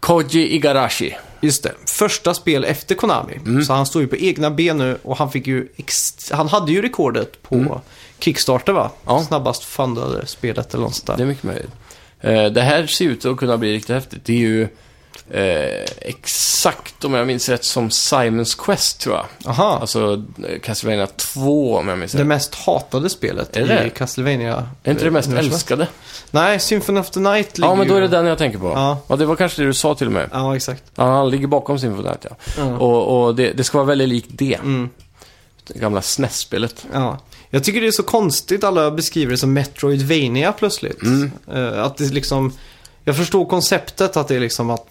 Speaker 2: Koji Igarashi.
Speaker 1: Just det, första spel efter Konami.
Speaker 2: Mm.
Speaker 1: Så han står ju på egna ben nu och han fick ju ex- Han hade ju rekordet på Kickstarter va?
Speaker 2: Mm. Ja.
Speaker 1: Snabbast fundade spelet eller något sånt där.
Speaker 2: Det är mycket möjligt. Eh, Det här ser ut att kunna bli riktigt häftigt. Det är ju eh, exakt, om jag minns rätt, som Simons Quest tror jag.
Speaker 1: Aha,
Speaker 2: Alltså eh, Castlevania 2 om jag minns
Speaker 1: det
Speaker 2: rätt.
Speaker 1: mest hatade spelet
Speaker 2: Är det?
Speaker 1: i Castlevania.
Speaker 2: Är inte det mest älskade?
Speaker 1: Nej, Symphony of the Night ligger
Speaker 2: Ja, men då är det
Speaker 1: ju-
Speaker 2: den jag tänker på.
Speaker 1: Ja.
Speaker 2: Ja, det var kanske det du sa till och med.
Speaker 1: Ja, exakt.
Speaker 2: Ja, han ligger bakom sin Fortnite, ja. Och, och det, det ska vara väldigt likt det.
Speaker 1: Mm.
Speaker 2: Det gamla E SNES-spelet.
Speaker 1: Ja. Jag tycker det är så konstigt alla beskriver det som Metroidvania plötsligt.
Speaker 2: Mm.
Speaker 1: Eh, att det liksom, jag förstår konceptet att det är liksom att,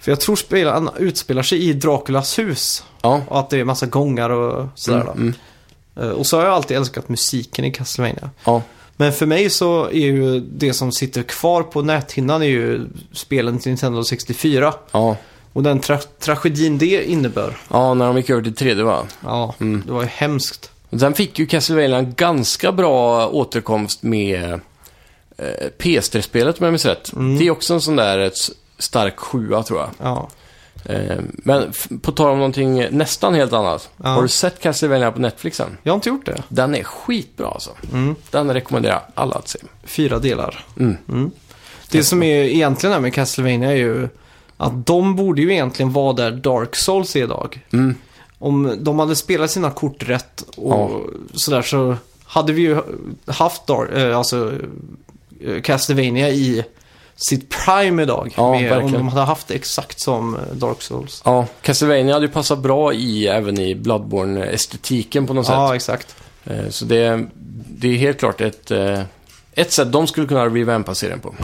Speaker 1: för jag tror spelaren utspelar sig i Draculas hus.
Speaker 2: Ja.
Speaker 1: Och att det är massa gångar och sådär
Speaker 2: Mm, mm.
Speaker 1: då. Eh, Och så har jag alltid älskat musiken i Castlevania.
Speaker 2: Ja.
Speaker 1: Men för mig så är ju det som sitter kvar på näthinnan är ju spelen till Nintendo 64.
Speaker 2: Ja.
Speaker 1: Och den tra- tragedin det innebär.
Speaker 2: ja, när de gick över till 3D va?
Speaker 1: Ja,
Speaker 2: Mm.
Speaker 1: det var ju hemskt.
Speaker 2: Och Sen fick ju Castlevania en ganska bra återkomst med eh, PS3-spelet om jag minns rätt.
Speaker 1: Mm.
Speaker 2: Det är också en sån där ett s- stark sjua tror jag.
Speaker 1: Ja.
Speaker 2: Eh, men f- på tal om någonting nästan helt annat.
Speaker 1: Ja.
Speaker 2: Har du sett Castlevania på Netflix än?
Speaker 1: Jag har inte gjort det.
Speaker 2: Den är skitbra alltså.
Speaker 1: Mm.
Speaker 2: Den rekommenderar jag alla att se.
Speaker 1: Fyra delar. Mm. Det som är egentligen är med Castlevania är ju att de borde ju egentligen vara där Dark Souls är idag.
Speaker 2: Mm.
Speaker 1: Om de hade spelat sina kort rätt och sådär så hade vi ju haft Dark, eh, alltså eh, Castlevania i sitt prime idag.
Speaker 2: Ja,
Speaker 1: om
Speaker 2: verkligen.
Speaker 1: de hade haft det exakt som eh, Dark Souls.
Speaker 2: Ja, Castlevania hade ju passat bra i, även i Bloodborne-estetiken på något
Speaker 1: Ja,
Speaker 2: sätt.
Speaker 1: exakt.
Speaker 2: Eh, Så det, det är helt klart ett, eh, ett sätt de skulle kunna revampa serien på.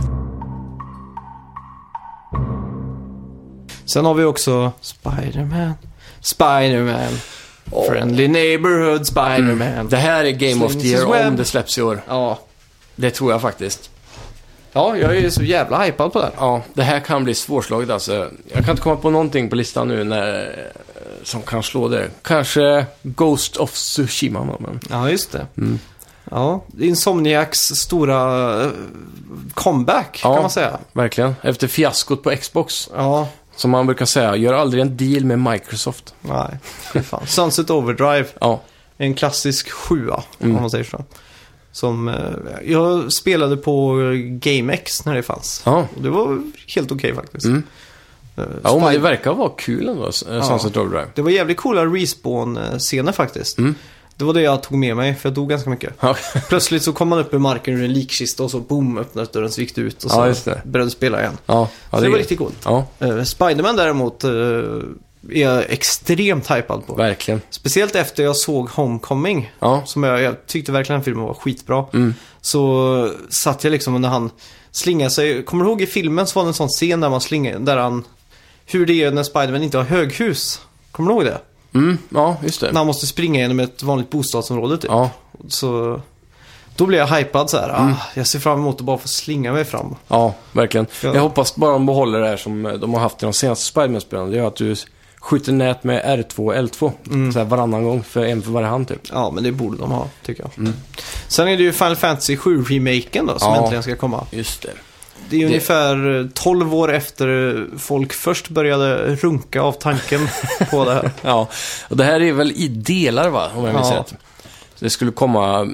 Speaker 1: Sen har vi också Spider-Man. Spider-Man. Friendly neighborhood Spider-Man.
Speaker 2: Det här är Game of the
Speaker 1: Slings his
Speaker 2: Year om
Speaker 1: web.
Speaker 2: det släpps i år.
Speaker 1: Ja.
Speaker 2: Det tror jag faktiskt.
Speaker 1: Ja, jag är så jävla hypad på den.
Speaker 2: Ja, det här kan bli svårslaget alltså. Jag kan inte komma på någonting på listan nu när, eh, som kan slå det. Kanske Ghost of Tsushima. Men...
Speaker 1: Ja, just det. Ja, Insomniacs stora eh, comeback
Speaker 2: Ja.
Speaker 1: kan man säga.
Speaker 2: Verkligen. Efter fiaskot på Xbox,
Speaker 1: Ja,
Speaker 2: som man brukar säga, gör aldrig en deal med Microsoft.
Speaker 1: nej. Fy fan. Sunset Overdrive,
Speaker 2: Ja,
Speaker 1: en klassisk sjua om
Speaker 2: Mm.
Speaker 1: man säger så. Som, eh, jag spelade på GameX när det fanns.
Speaker 2: ja.
Speaker 1: Och det var helt okej faktiskt.
Speaker 2: Mm.
Speaker 1: Eh,
Speaker 2: Ja, men det
Speaker 1: Spy-
Speaker 2: verkar vara kul ändå, eh, Sunset Overdrive. <laughs>
Speaker 1: det var jävligt coola respawn-scener faktiskt.
Speaker 2: Mm.
Speaker 1: Det var det jag tog med mig, för jag dog ganska mycket.
Speaker 2: Ja,
Speaker 1: Plötsligt så kom man upp ur marken ur en likkista och så boom öppnades dörren så gick det ut och så
Speaker 2: Ja, just det.
Speaker 1: började spela igen.
Speaker 2: ja, ja
Speaker 1: så det var
Speaker 2: är-
Speaker 1: riktigt coolt.
Speaker 2: Ja,
Speaker 1: Eh, Spiderman däremot eh, är jag extremt hypad på.
Speaker 2: verkligen.
Speaker 1: Speciellt efter jag såg Homecoming.
Speaker 2: Ja,
Speaker 1: Som jag, jag tyckte verkligen den filmen var skitbra.
Speaker 2: Mm.
Speaker 1: Så satt jag liksom när han slingade sig. Kommer du ihåg i filmen så var det en sån scen där man slingade, där han... Hur det är när Spiderman inte har höghus. Kommer du ihåg det?
Speaker 2: mm, ja just det.
Speaker 1: När han måste springa genom ett vanligt bostadsområde typ.
Speaker 2: Ja,
Speaker 1: Så då blev jag hypad så här. Ah, jag ser fram emot att bara få slinga mig fram.
Speaker 2: ja, verkligen.
Speaker 1: Ja.
Speaker 2: Jag hoppas bara de behåller det här som eh, de har haft i de senaste Spiderman-spelen. Det är att du skjuter nät med R2 och L2.
Speaker 1: Mm.
Speaker 2: Så här varannan gång, för en för varje hand typ.
Speaker 1: Ja, men det borde de ha, tycker jag. Mm. Sen är det ju Final Fantasy 7-remaken då, som
Speaker 2: Ja.
Speaker 1: äntligen ska komma.
Speaker 2: Just det.
Speaker 1: Det är
Speaker 2: Det-
Speaker 1: ungefär eh, 12 år efter eh, folk först började runka av tanken på det här.
Speaker 2: Ja, och det här är väl i delar va, om jag minns
Speaker 1: Ja.
Speaker 2: rätt. Så det skulle komma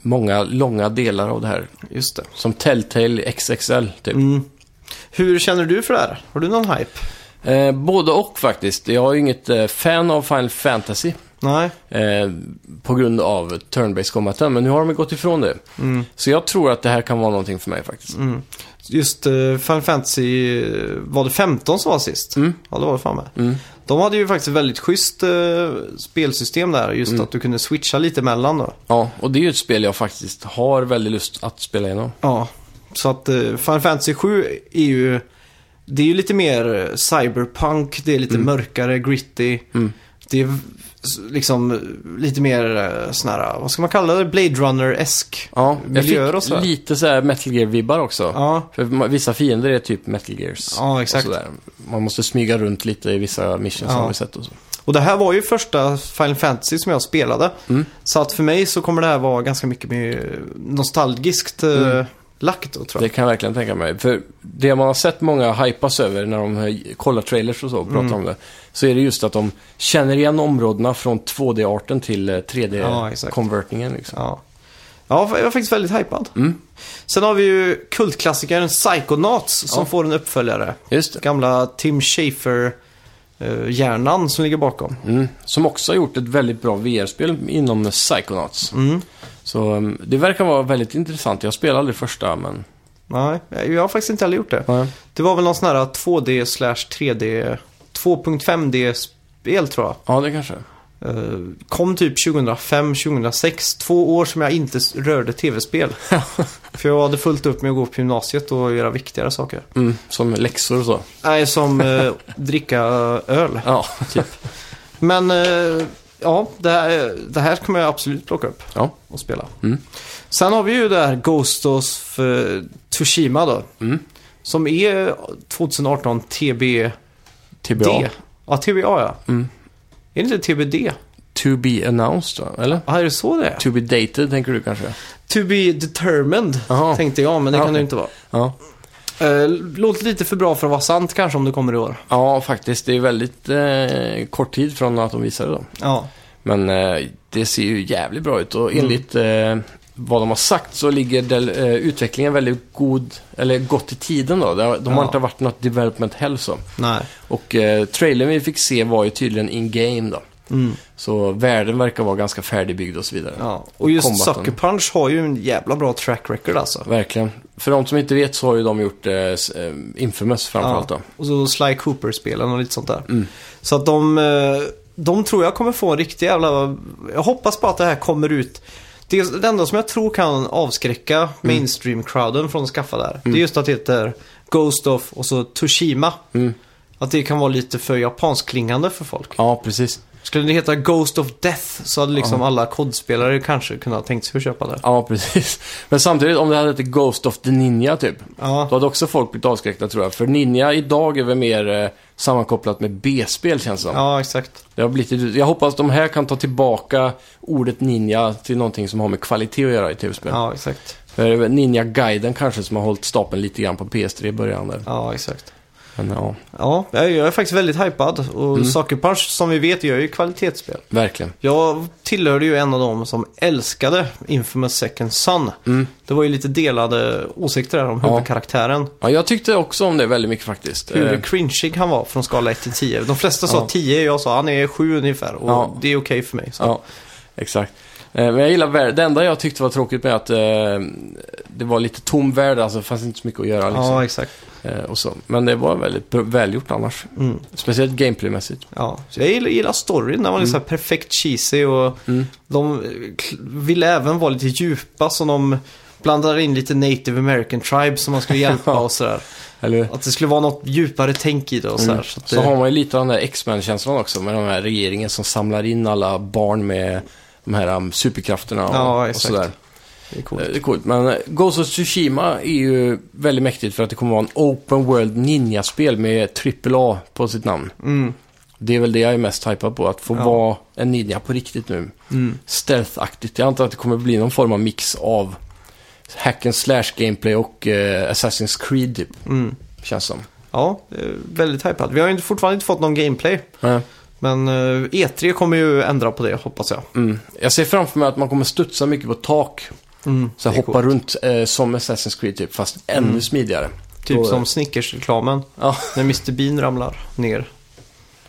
Speaker 2: många långa delar av det här.
Speaker 1: <laughs> Just det.
Speaker 2: Som Telltale XXL typ.
Speaker 1: Mm. Hur känner du för det här? Har du någon hype?
Speaker 2: Eh, både och faktiskt. Jag är ju inget eh, fan av Final Fantasy.
Speaker 1: Nej.
Speaker 2: Eh, på grund av turn-based combaten, men nu har de ju gått ifrån det.
Speaker 1: Mm.
Speaker 2: Så jag tror att det här kan vara någonting för mig faktiskt.
Speaker 1: Just eh, Final Fantasy, eh, var det 15 som var sist?
Speaker 2: Mm.
Speaker 1: Ja, det var det fan med.
Speaker 2: Mm.
Speaker 1: De hade ju faktiskt ett väldigt schysst eh, spelsystem där. Just
Speaker 2: Mm.
Speaker 1: att du kunde switcha lite mellan då.
Speaker 2: Ja, och det är ju ett spel jag faktiskt har väldigt lust att spela igenom.
Speaker 1: Ja, så att eh, Final Fantasy 7 är ju... Det är ju lite mer eh, cyberpunk, det är lite mörkare, gritty.
Speaker 2: Mm.
Speaker 1: Det är v- s- liksom eh, lite mer eh, sån här, vad ska man kalla det? Blade Runner-esk.
Speaker 2: Ja, jag
Speaker 1: Miljöer och
Speaker 2: fick
Speaker 1: sådär.
Speaker 2: lite så här Metal Gear-vibbar också.
Speaker 1: Ja,
Speaker 2: För ma- vissa fiender är typ Metal Gears.
Speaker 1: ja exakt.
Speaker 2: Och sådär. Man måste smyga runt lite i vissa missions
Speaker 1: Ja.
Speaker 2: har vi sett och så.
Speaker 1: Och det här var ju första Final Fantasy som jag spelade.
Speaker 2: Mm.
Speaker 1: Så att för mig så kommer det här vara ganska mycket mer nostalgiskt eh,
Speaker 2: Mm.
Speaker 1: lagt då tror
Speaker 2: Det
Speaker 1: jag.
Speaker 2: kan jag verkligen tänka mig. För det man har sett många hypas över när de eh, kollar trailers och så och pratar
Speaker 1: Mm.
Speaker 2: om det. Så är det just att de känner igen områdena från 2D-arten till
Speaker 1: Ja, exakt.
Speaker 2: 3D-convertingen. liksom.
Speaker 1: Ja. Ja, jag var faktiskt väldigt hypad.
Speaker 2: Mm.
Speaker 1: Sen har vi ju kultklassikern Psychonauts som
Speaker 2: Ja.
Speaker 1: får en uppföljare.
Speaker 2: Just det.
Speaker 1: Gamla Tim Schafer eh, hjärnan som ligger bakom.
Speaker 2: Mm. Som också har gjort ett väldigt bra VR-spel inom Psychonauts. Så um, det verkar vara väldigt intressant. Jag spelade aldrig första, men...
Speaker 1: Nej, jag har faktiskt inte heller gjort det. Det var väl någon sån här 2D slash 3D 2.5D spel tror jag.
Speaker 2: Ja, det kanske.
Speaker 1: Eh, Kom typ 2005, 2006. Två år som jag inte s- rörde
Speaker 2: <laughs>
Speaker 1: tv-spel. För jag hade fullt upp med att gå på gymnasiet och göra viktigare saker.
Speaker 2: Mm. Som läxor och så.
Speaker 1: Nej, som eh, dricka öl.
Speaker 2: Ja, typ.
Speaker 1: Men eh, ja, det här, det här kommer jag absolut plocka upp
Speaker 2: Ja.
Speaker 1: och spela.
Speaker 2: Mm.
Speaker 1: Sen har vi ju det här Ghost of eh, Tsushima då.
Speaker 2: Mm.
Speaker 1: Som är 2018 TBD.
Speaker 2: TBA.
Speaker 1: Typ, Ja, TBA ja.
Speaker 2: Mm.
Speaker 1: Är det inte TBD?
Speaker 2: To be announced, va? eller?
Speaker 1: Ja, är det så det är?
Speaker 2: To be dated, tänker du kanske?
Speaker 1: To be determined
Speaker 2: Jaha.
Speaker 1: tänkte jag, men det
Speaker 2: Ja,
Speaker 1: kan det
Speaker 2: okej.
Speaker 1: ju inte vara.
Speaker 2: Ja.
Speaker 1: Eh, låter lite för bra för att vara sant kanske om det kommer i år.
Speaker 2: Ja, faktiskt. Det är väldigt eh, kort tid från att de visade dem.
Speaker 1: Ja.
Speaker 2: Men eh, det ser ju jävligt bra ut
Speaker 1: Mm.
Speaker 2: och enligt eh, vad de har sagt så ligger del, eh, utvecklingen väldigt god, eller gott i tiden då. Det har- De har
Speaker 1: Ja.
Speaker 2: inte varit något development hell så.
Speaker 1: Nej.
Speaker 2: Och eh, trailern vi fick se var ju tydligen in-game då.
Speaker 1: Mm.
Speaker 2: Så världen verkar vara ganska färdigbyggd och så vidare.
Speaker 1: Ja. Och just
Speaker 2: Combaten.
Speaker 1: Sucker Punch har ju en jävla bra track record alltså.
Speaker 2: Verkligen. För de som inte vet så har ju de gjort eh, s- eh, Infamous framförallt då.
Speaker 1: Och så Sly Cooper-spelen och lite sånt där.
Speaker 2: Mm.
Speaker 1: Så att de, eh, de tror jag kommer få en riktig jävla... Jag hoppas på att det här kommer ut. Det, är det enda som jag tror kan
Speaker 2: Mm.
Speaker 1: avskräcka mainstream-crowden från att skaffa det här. Det är just att det heter Ghost of och så Toshima.
Speaker 2: Mm.
Speaker 1: Att det kan vara lite för japansklingande för folk.
Speaker 2: Ja, precis.
Speaker 1: Skulle det heta Ghost of Death så hade liksom alla kodspelare kanske kunnat tänkt sig att köpa det.
Speaker 2: Ja, precis. <laughs> Men samtidigt, om det hade hetat Ghost of the Ninja typ.
Speaker 1: Ja.
Speaker 2: Då hade också folk blivit avskräckta tror jag. För Ninja idag är väl mer eh, sammankopplat med B-spel känns det som.
Speaker 1: Ja, exakt.
Speaker 2: Det har blivit, jag hoppas de här kan ta tillbaka ordet ninja till någonting som har med kvalitet att göra i tv-spel.
Speaker 1: Ja, exakt.
Speaker 2: För Ninja-guiden kanske som har hållit stapeln lite grann på PS3 i början där.
Speaker 1: Ja, exakt.
Speaker 2: Men ja,
Speaker 1: Ja, jag jag är faktiskt väldigt hypad. Och Sucker Punch, som vi vet, gör ju kvalitetsspel.
Speaker 2: verkligen.
Speaker 1: Jag tillhörde ju en av dem som älskade Infamous Second Son. Det var ju lite delade åsikter där om
Speaker 2: Ja.
Speaker 1: huvudkaraktären.
Speaker 2: Ja, jag tyckte också om det väldigt mycket faktiskt.
Speaker 1: Hur
Speaker 2: Eh,
Speaker 1: cringeig han var från skala 1 till 10. De flesta sa
Speaker 2: Ja.
Speaker 1: 10, jag sa han är 7 ungefär. Och
Speaker 2: Ja.
Speaker 1: det är okej för mig. Så.
Speaker 2: Ja, exakt. Eh, Men jag gillar världen. Det enda jag tyckte var tråkigt med att eh, det var lite tom värld, alltså det fanns inte så mycket att göra liksom.
Speaker 1: Ja, exakt.
Speaker 2: Eh, och så. Men det var väldigt bra- välgjort annars.
Speaker 1: Mm.
Speaker 2: Speciellt gameplaymässigt.
Speaker 1: Ja. Så jag gillar, gillar storyn, den var liksom så här perfekt cheesy och
Speaker 2: Mm.
Speaker 1: de eh, kl- ville även vara lite djupa så de blandade in lite native american tribes som man skulle
Speaker 2: <laughs>
Speaker 1: hjälpa och sådär.
Speaker 2: Eller hur?
Speaker 1: Att det skulle vara något djupare tänk i det och sådär.
Speaker 2: Mm.
Speaker 1: Så att det,
Speaker 2: Så har man ju lite av den där X-Men-känslan också med den här regeringen som samlar in alla barn med de här um, superkrafterna och,
Speaker 1: Ja,
Speaker 2: och
Speaker 1: exakt.
Speaker 2: sådär.
Speaker 1: det är
Speaker 2: Eh,
Speaker 1: coolt.
Speaker 2: Det är coolt. Men eh, Ghost of Tsushima är ju väldigt mäktigt för att det kommer vara en Open World Ninja-spel med AAA på sitt namn.
Speaker 1: Mm.
Speaker 2: Det är väl det jag är mest hypad på, att få
Speaker 1: Ja.
Speaker 2: vara en ninja på riktigt nu.
Speaker 1: Mm.
Speaker 2: Stealth-aktigt. Jag antar att det kommer bli någon form av mix av hack and slash gameplay och eh, Assassin's Creed typ,
Speaker 1: Mm.
Speaker 2: känns som.
Speaker 1: Ja, eh, väldigt hypad. Vi har ju inte- fortfarande inte fått någon gameplay.
Speaker 2: Ja.
Speaker 1: Men eh, E3 kommer ju ändra på det, hoppas jag.
Speaker 2: Mm. Jag ser framför mig att man kommer studsa mycket på tak.
Speaker 1: Mm.
Speaker 2: Så
Speaker 1: Det är
Speaker 2: hoppa runt eh, som Assassin's Creed typ, fast ännu smidigare.
Speaker 1: Typ
Speaker 2: Då-
Speaker 1: som Snickers-reklamen,
Speaker 2: Ja.
Speaker 1: när Mr Bean ramlar ner.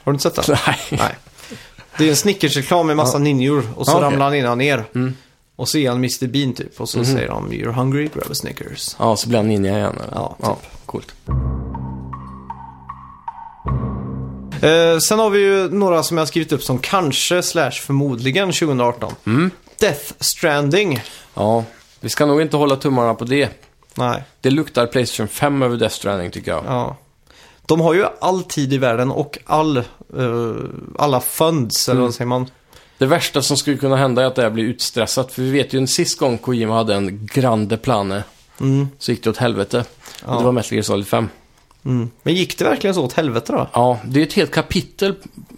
Speaker 1: Har du inte sett den?
Speaker 2: Nej.
Speaker 1: Nej. Det är en Snickers-reklam med massa ninjor och så
Speaker 2: Ja, okej. Mm. Mhm.
Speaker 1: ramlar han innan ner. Och så är han Mr Bean typ och så säger de “You're hungry, grab a Snickers”.
Speaker 2: Ja, så blir han ninja igen. Eller?
Speaker 1: Ja, typ.
Speaker 2: ja, coolt.
Speaker 1: Eh, sen har vi ju några som jag har skrivit upp som kanske slash förmodligen 2018.
Speaker 2: Mm.
Speaker 1: Death Stranding.
Speaker 2: Ja, vi ska nog inte hålla tummarna på det.
Speaker 1: Nej,
Speaker 2: Det luktar Playstation 5 över Death Stranding tycker jag.
Speaker 1: ja. De har ju all tid i världen och all, eh, alla funds,
Speaker 2: Mm.
Speaker 1: eller vad säger man?
Speaker 2: Det värsta som skulle kunna hända är att det här blir utstressat. För vi vet ju en sist gång Kojima hade en grande plane
Speaker 1: Mm,
Speaker 2: så gick det åt helvete. Och det var Metal Gear Solid 5.
Speaker 1: mm. Men gick det verkligen så åt helvete då?
Speaker 2: Ja, det är ett helt kapitel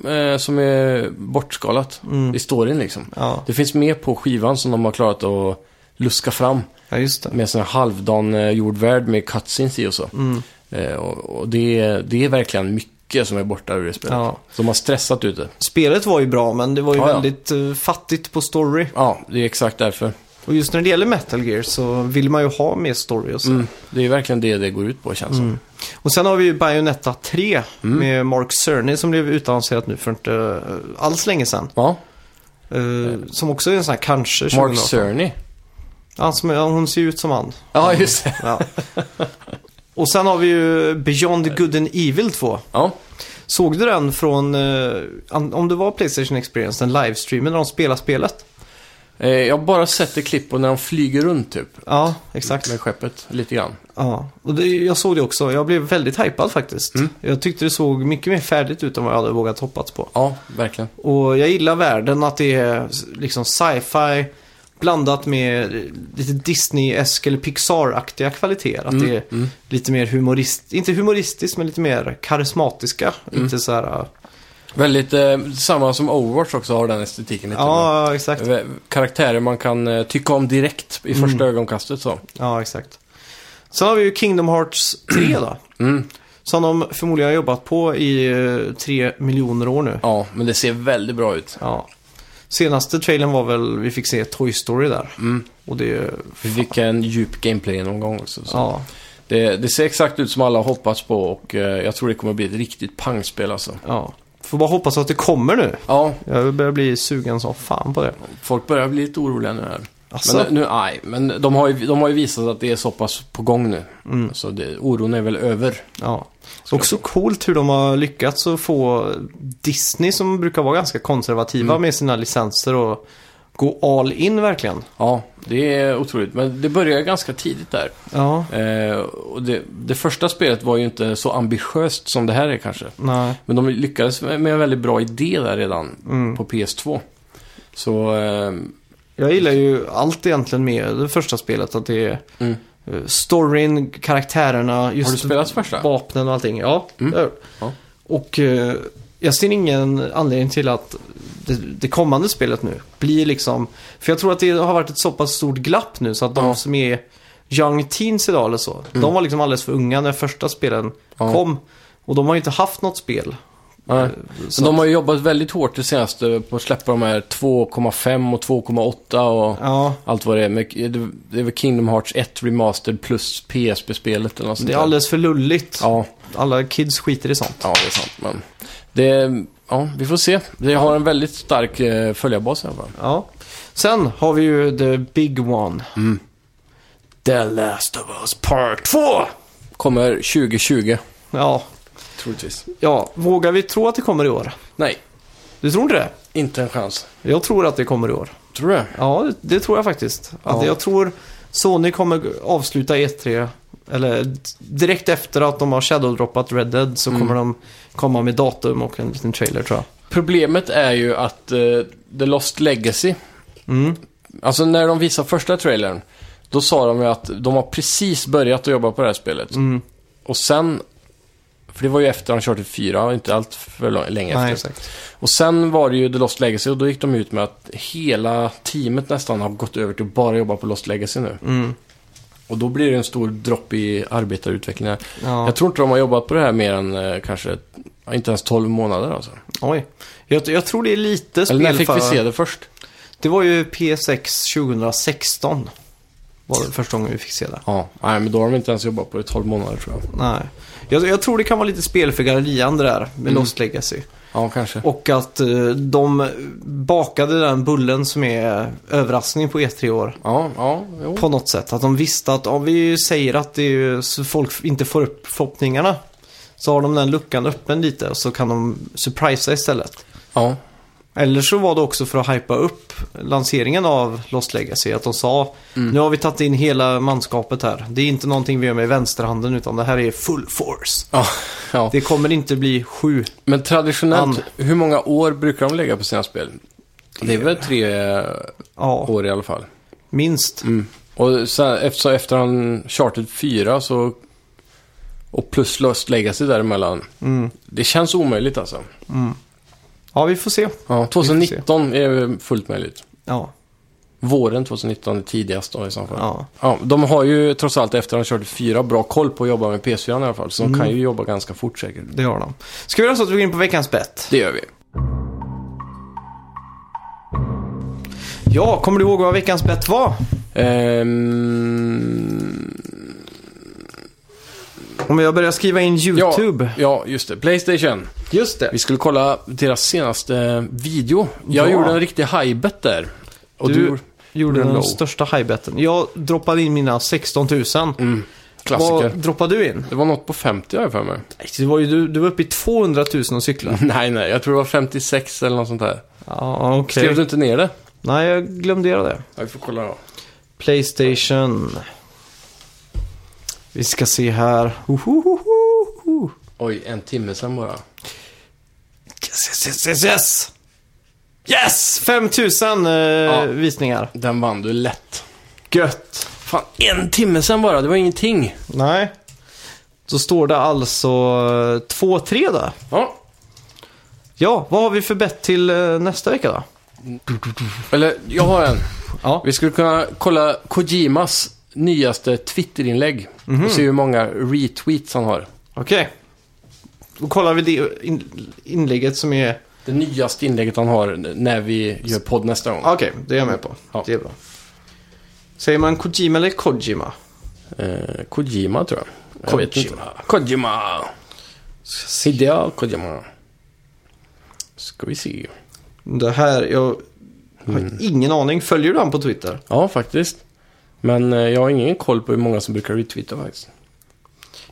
Speaker 2: eh, som är bortskalat i storyn liksom.
Speaker 1: Mm. Ja,
Speaker 2: Det finns mer på skivan som de har klarat att luska fram
Speaker 1: ja just det.
Speaker 2: med sån här halvdan eh, jordvärld med cutscenes i och så.
Speaker 1: Mm.
Speaker 2: Eh, och och det, är- det är verkligen mycket som är borta ur det spelet.
Speaker 1: Ja.
Speaker 2: Så de har stressat ut det.
Speaker 1: Spelet var ju bra, men det var ju
Speaker 2: Ja, ja.
Speaker 1: väldigt eh, fattigt på story.
Speaker 2: Ja, det är exakt därför.
Speaker 1: Och just när det gäller Metal Gear så vill man ju ha mer story och så.
Speaker 2: Mm. Det är ju verkligen det det går ut på känns det
Speaker 1: Mm.
Speaker 2: som.
Speaker 1: Och sen har vi ju Bayonetta 3
Speaker 2: Mm.
Speaker 1: med Mark Cerny som blev utannonserat nu för inte eh, alls länge sedan.
Speaker 2: Ja,
Speaker 1: Eh, som också är en sån här kanske 2018.
Speaker 2: Mm. Mark Cerny.
Speaker 1: Han som, ja, hon ser ju ut som han.
Speaker 2: Ja, just det. <laughs>
Speaker 1: Ja. och sen har vi ju Beyond Good and Evil 2.
Speaker 2: Ja.
Speaker 1: Såg du den från, eh, an- om det var Playstation Experience, den livestreamen när de spelar spelet?
Speaker 2: Eh, Jag har bara sett det klipp på när de flyger runt typ.
Speaker 1: Ja, exakt.
Speaker 2: Med skeppet, lite grann.
Speaker 1: Ja, och det, jag såg det också. Jag blev väldigt hypad faktiskt. Jag tyckte det såg mycket mer färdigt ut än vad jag hade vågat hoppats på.
Speaker 2: Ja, verkligen.
Speaker 1: Och jag gillar världen, att det är liksom sci-fi blandat med lite Disney-esk eller Pixar-aktiga kvaliteter. Att det är lite mer humorist, inte humoristiskt men lite mer karismatiska. Inte så här, äh,
Speaker 2: Väldigt, eh, samma som Overwatch också har den estetiken lite.
Speaker 1: ja exakt.
Speaker 2: med. Eh, Karaktärer man kan eh, tycka om direkt i första
Speaker 1: Mm.
Speaker 2: ögonkastet så.
Speaker 1: Ja, exakt. Sen har vi ju Kingdom Hearts 3 då.
Speaker 2: Mm.
Speaker 1: Som de förmodligen har jobbat på i eh, tre miljoner år nu.
Speaker 2: Ja, men det ser väldigt bra ut.
Speaker 1: Ja. Senaste trailern var väl, vi fick se Toy Story där. Och det,
Speaker 2: Vi fick en djup gameplay någon gång också. Så.
Speaker 1: ja.
Speaker 2: Det, det ser exakt ut som alla har hoppats på och eh, jag tror det kommer bli ett riktigt pangspel alltså.
Speaker 1: ja. Får bara hoppas att det kommer nu.
Speaker 2: Ja,
Speaker 1: Jag börjar bli sugen som fan på det.
Speaker 2: folk börjar bli lite oroliga nu här.
Speaker 1: Asså?
Speaker 2: Men, nu, nej, men de har, ju, de har ju visat att det är så pass på gång nu. Så det, oron är väl över.
Speaker 1: Ja. Också coolt hur de har lyckats att få Disney som brukar vara ganska konservativa med sina licenser och gå all in verkligen.
Speaker 2: Ja, det är otroligt. Men det börjar ganska tidigt där.
Speaker 1: Ja,
Speaker 2: Eh, och det, det första spelet var ju inte så ambitiöst som det här är kanske.
Speaker 1: nej.
Speaker 2: Men de lyckades med med en väldigt bra idé där redan på PS2. Så, eh,
Speaker 1: Jag gillar ju allt egentligen med det första spelet. Att det är
Speaker 2: Mm.
Speaker 1: eh, storyn, karaktärerna, just
Speaker 2: har du spelat första? Mm.
Speaker 1: vapnen och allting. Ja, det har jag gjort.
Speaker 2: Ja.
Speaker 1: Och eh, jag ser ingen anledning till att det, det kommande spelet nu blir liksom... För jag tror att det har varit ett så pass stort glapp nu så att de
Speaker 2: Ja. Mm.
Speaker 1: som är young teens idag eller så. De var liksom alldeles för unga när första spelen
Speaker 2: Ja.
Speaker 1: kom. Och de har ju inte haft något spel.
Speaker 2: Nej.
Speaker 1: Eh, Så
Speaker 2: Men de har ju jobbat väldigt hårt det senaste på att släppa de här 2,5 och 2,8 och
Speaker 1: Ja,
Speaker 2: allt vad det är. Men det- det är väl Kingdom Hearts 1 Remastered plus PSP-spelet eller något sånt
Speaker 1: det är
Speaker 2: där.
Speaker 1: alldeles för lulligt.
Speaker 2: Ja,
Speaker 1: Alla kids skiter i sånt.
Speaker 2: ja, det är sant. Men det, ja, vi får se. Det har en väldigt stark eh, följarbas i alla fall.
Speaker 1: Ja. Sen har vi ju the big one. The Last of Us Part 2!
Speaker 2: Kommer 2020,
Speaker 1: Ja,
Speaker 2: troligtvis.
Speaker 1: ja, vågar vi tro att det kommer i år?
Speaker 2: Nej,
Speaker 1: Du tror inte det?
Speaker 2: inte en chans.
Speaker 1: Jag tror att det kommer i år.
Speaker 2: Tror du det?
Speaker 1: Ja, det- det tror jag faktiskt. Att
Speaker 2: Ja.
Speaker 1: Jag tror Sony kommer avsluta E3, eller d- direkt efter att de har shadowdroppat Red Dead
Speaker 2: Mm.
Speaker 1: så kommer de komma med datum och en liten trailer tror jag.
Speaker 2: Problemet är ju att eh, The Lost Legacy,
Speaker 1: Mm.
Speaker 2: alltså när de visade första trailern, då sa de ju att de har precis börjat att jobba på det här spelet.
Speaker 1: Mm.
Speaker 2: Och sen, för det var ju efter de körde fyra, inte allt för lång- länge
Speaker 1: Nej,
Speaker 2: efter.
Speaker 1: exakt.
Speaker 2: Och sen var det ju The Lost Legacy och då gick de ut med att hela teamet nästan har gått över till att bara jobba på Lost Legacy nu.
Speaker 1: Mm.
Speaker 2: Och då blir det en stor dropp i arbetarutvecklingen.
Speaker 1: Ja.
Speaker 2: Jag tror inte de har jobbat på det här mer än eh, kanske, ja, inte ens 12 månader alltså.
Speaker 1: Oj. Jag, jag tror det är lite
Speaker 2: Eller när fick vi
Speaker 1: spelföra-
Speaker 2: se det först?
Speaker 1: Det var ju PS6 2016. Var det första gången vi fick se det.
Speaker 2: Ja, nej men då har de inte ens jobbat på det i 12 månader tror jag.
Speaker 1: Nej. Jag, jag tror det kan vara lite spel för gallerian det där med Lost Legacy.
Speaker 2: Ja, kanske.
Speaker 1: Och att eh, de bakade den bullen som är överraskning på E3 i år.
Speaker 2: Ja, ja, jo.
Speaker 1: På något sätt. Att de visste att om vi säger att det är, så folk inte får upp förhoppningarna. Så har de den luckan öppen lite och så kan de surprisa istället.
Speaker 2: Ja,
Speaker 1: Eller så var det också för att hypa upp lanseringen av Lost Legacy. Att de sa nu har vi tagit in hela manskapet här. Det är inte någonting vi gör med vänsterhanden utan det här är full force.
Speaker 2: ja, ja.
Speaker 1: Det kommer inte bli sju.
Speaker 2: Men traditionellt, hur många år brukar de lägga på sina spel? Det är väl tre eh,
Speaker 1: Ja, Mm.
Speaker 2: år i alla fall.
Speaker 1: minst.
Speaker 2: Och sen, efter, efter han Charted 4 så... Och plus Lost Legacy däremellan. Det känns omöjligt alltså.
Speaker 1: Ja, vi får se.
Speaker 2: Ja, 2019 är fullt möjligt.
Speaker 1: Ja,
Speaker 2: Våren 2019 är tidigast då i så fall.
Speaker 1: ja.
Speaker 2: Ja, de har ju trots allt efter han körde fyra bra koll på att jobba med PS4 i alla fall. Så de kan
Speaker 1: Mm.
Speaker 2: ju jobba ganska fort säkert.
Speaker 1: det har de. Ska vi göra så att vi går in på veckans bett?
Speaker 2: Det gör vi.
Speaker 1: Ja, kommer du ihåg vad veckans bett var?
Speaker 2: Ehm,
Speaker 1: Om jag börjar skriva in YouTube.
Speaker 2: Ja, ja, just det. Playstation.
Speaker 1: Just det.
Speaker 2: Vi skulle kolla deras senaste video. Jag
Speaker 1: Ja.
Speaker 2: gjorde en riktig high-bet där. Och
Speaker 1: Du-
Speaker 2: du, gjorde
Speaker 1: Gjorde
Speaker 2: den
Speaker 1: den
Speaker 2: low.
Speaker 1: största highbetten. Jag droppade in mina 16 000.
Speaker 2: klassiker.
Speaker 1: Vad droppade du in?
Speaker 2: Det var något på 50 har jag för mig. <laughs>
Speaker 1: Det var ju, du, du var uppe i 200 000 och cykla.
Speaker 2: Nej, nej. Jag tror det var 56 eller något sånt där.
Speaker 1: Mm. Ja, okej.
Speaker 2: Skrev du inte ner det?
Speaker 1: Nej, jag glömde göra det.
Speaker 2: Ja, vi får kolla då.
Speaker 1: Playstation. Vi ska se här. Hohohoho.
Speaker 2: Oj, en timme sen bara.
Speaker 1: Yes, yes, yes, yes, yes! Yes! 5000 eh, visningar.
Speaker 2: Den vann du lätt.
Speaker 1: Gött!
Speaker 2: Fan, en timme sen bara. Det var ingenting.
Speaker 1: Nej. Då står det alltså eh, 2-3 där.
Speaker 2: Ja.
Speaker 1: Ja, vad har vi för bett till eh, nästa vecka då?
Speaker 2: Eller, jag har en.
Speaker 1: Ja.
Speaker 2: Vi skulle kunna kolla Kojimas nyaste Twitterinlägg. Och se hur många retweets han har.
Speaker 1: Okej. Då kollar vi det in, inlägget som är...
Speaker 2: Det nyaste inlägget han har när vi gör podd nästa gång.
Speaker 1: Okej, det är jag med på.
Speaker 2: Ja.
Speaker 1: Det är bra. Säger man Kojima eller Kojima?
Speaker 2: Eh, Kojima tror jag. jag
Speaker 1: Kojima.
Speaker 2: vet inte. Kojima. Hideo Kojima. Ska vi se.
Speaker 1: Det här, jag har ingen aning. Följer du han på Twitter?
Speaker 2: Ja, faktiskt. Men eh, jag har ingen koll på hur många som brukar retweeta faktiskt.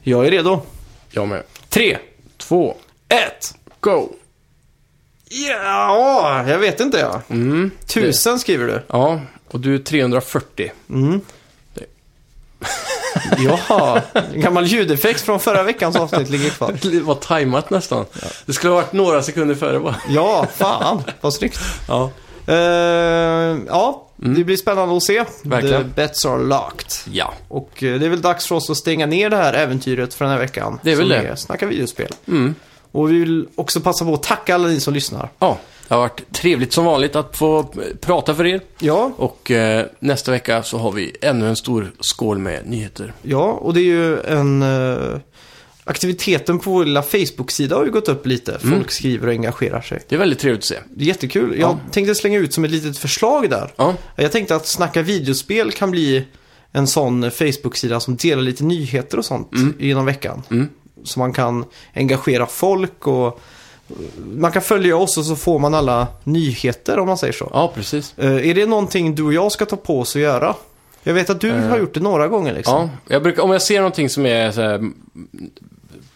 Speaker 1: Jag är redo.
Speaker 2: Jag med.
Speaker 1: Tre,
Speaker 2: Två.
Speaker 1: ett.
Speaker 2: Go!
Speaker 1: Ja, jag vet inte jag.
Speaker 2: Mm.
Speaker 1: Tusen skriver du.
Speaker 2: Ja, och du är <laughs> 340.
Speaker 1: Jaha, en gammal ljudeffekt från förra veckans avsnitt ligger kvar.
Speaker 2: Det var tajmat nästan. Det skulle ha varit några sekunder före bara.
Speaker 1: Ja, fan vad snyggt.
Speaker 2: Ja.
Speaker 1: Eh, ja, det blir spännande att se.
Speaker 2: Mm. Verkligen.
Speaker 1: The bets are locked.
Speaker 2: Ja.
Speaker 1: Och eh, det är väl dags för oss att stänga ner det här äventyret för den här veckan.
Speaker 2: Det är väl
Speaker 1: som
Speaker 2: det. Mm.
Speaker 1: Snacka videospel. Och vi vill också passa på att tacka alla ni som lyssnar.
Speaker 2: Ja, det har varit trevligt som vanligt att få eh, prata för er.
Speaker 1: Ja,
Speaker 2: Och eh, nästa vecka så har vi ännu en stor skål med nyheter.
Speaker 1: Ja, och det är ju en... eh, aktiviteten på vår lilla Facebook-sida har ju gått upp lite.
Speaker 2: Mm.
Speaker 1: Folk skriver och engagerar sig.
Speaker 2: Det är väldigt trevligt att se.
Speaker 1: Det är jättekul. Jag tänkte slänga ut som ett litet förslag där.
Speaker 2: Ja,
Speaker 1: Jag tänkte att Snacka videospel kan bli en sån Facebook-sida som delar lite nyheter och sånt
Speaker 2: Mm.
Speaker 1: genom veckan. Så man kan engagera folk och eh, man kan följa oss och så får man alla nyheter om man säger så.
Speaker 2: ja precis.
Speaker 1: Eh, är det någonting du och jag ska ta på oss att göra? Jag vet att du har gjort det några gånger liksom.
Speaker 2: Eh. Ja, jag brukar, om jag ser någonting som är så här, m-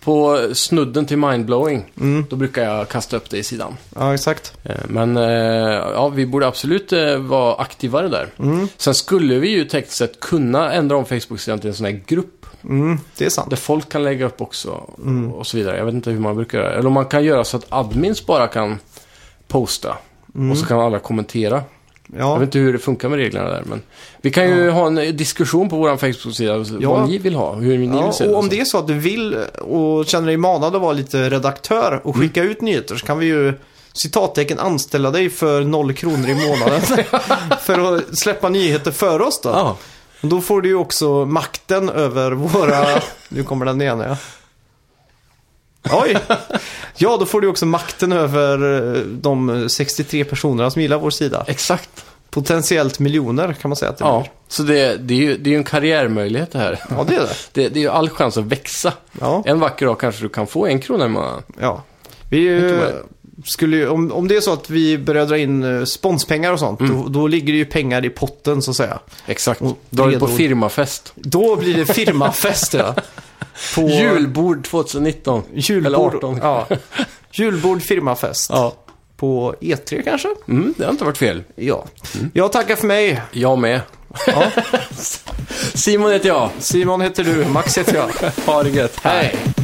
Speaker 2: på snudden till mindblowing, då brukar jag kasta upp det i sidan.
Speaker 1: ja exakt.
Speaker 2: Eh, Men eh, ja, vi borde absolut eh, vara aktivare där.
Speaker 1: Mm.
Speaker 2: Sen skulle vi ju tekniskt sett kunna ändra om Facebook-sidan till en sån här grupp.
Speaker 1: Mm, det är sant.
Speaker 2: Där folk kan lägga upp också
Speaker 1: Mm.
Speaker 2: och så vidare. Jag vet inte hur man brukar göra. Eller om man kan göra så att admins bara kan posta.
Speaker 1: Mm.
Speaker 2: Och så kan alla kommentera. Jag
Speaker 1: Ja,
Speaker 2: vet inte hur det funkar med reglerna där. Men vi kan ju ha en diskussion på vår Facebook-sida.
Speaker 1: Ja.
Speaker 2: Vad ni vill ha. Hur ni vill se
Speaker 1: ja och om
Speaker 2: så.
Speaker 1: det är så att du vill och känner dig manad att vara lite redaktör och
Speaker 2: Mm.
Speaker 1: skicka ut nyheter så kan vi ju citattecken anställa dig för noll kronor i
Speaker 2: <laughs>
Speaker 1: månaden för att släppa nyheter för oss då.
Speaker 2: Ja.
Speaker 1: Och Då får du ju också makten över våra... Nu kommer den igen ja. Oj! Ja, då får du också makten över eh, de 63 personerna som gillar vår sida.
Speaker 2: Exakt.
Speaker 1: Potentiellt miljoner kan man säga att det
Speaker 2: Ja.
Speaker 1: blir.
Speaker 2: Så det, det, är ju, det är ju en karriärmöjlighet det här.
Speaker 1: Ja, det är det.
Speaker 2: Det, det är ju all chans att växa.
Speaker 1: Ja.
Speaker 2: En vacker dag kanske du kan få en krona i månaden.
Speaker 1: Ja. Vi
Speaker 2: Jag tror
Speaker 1: eh,
Speaker 2: det.
Speaker 1: skulle ju, om, om det är så att vi börjar dra in eh, sponspengar och sånt,
Speaker 2: Mm.
Speaker 1: då, då ligger det ju pengar i potten så att säga.
Speaker 2: Exakt.
Speaker 1: Och
Speaker 2: Dra ut på
Speaker 1: redo.
Speaker 2: firmafest.
Speaker 1: Då blir det firmafest ja. På
Speaker 2: <laughs> Julbord 2019.
Speaker 1: julbord,
Speaker 2: Eller 18.
Speaker 1: Ja. Julbord, firmafest.
Speaker 2: Ja.
Speaker 1: På E3 kanske?
Speaker 2: Mm, det har inte varit fel.
Speaker 1: Ja.
Speaker 2: Mm.
Speaker 1: Jag tackar för mig.
Speaker 2: Jag med.
Speaker 1: Ja.
Speaker 2: <laughs> Simon heter jag.
Speaker 1: Simon heter du, Max heter jag.
Speaker 2: Ha det gött. Hej.
Speaker 1: Hej.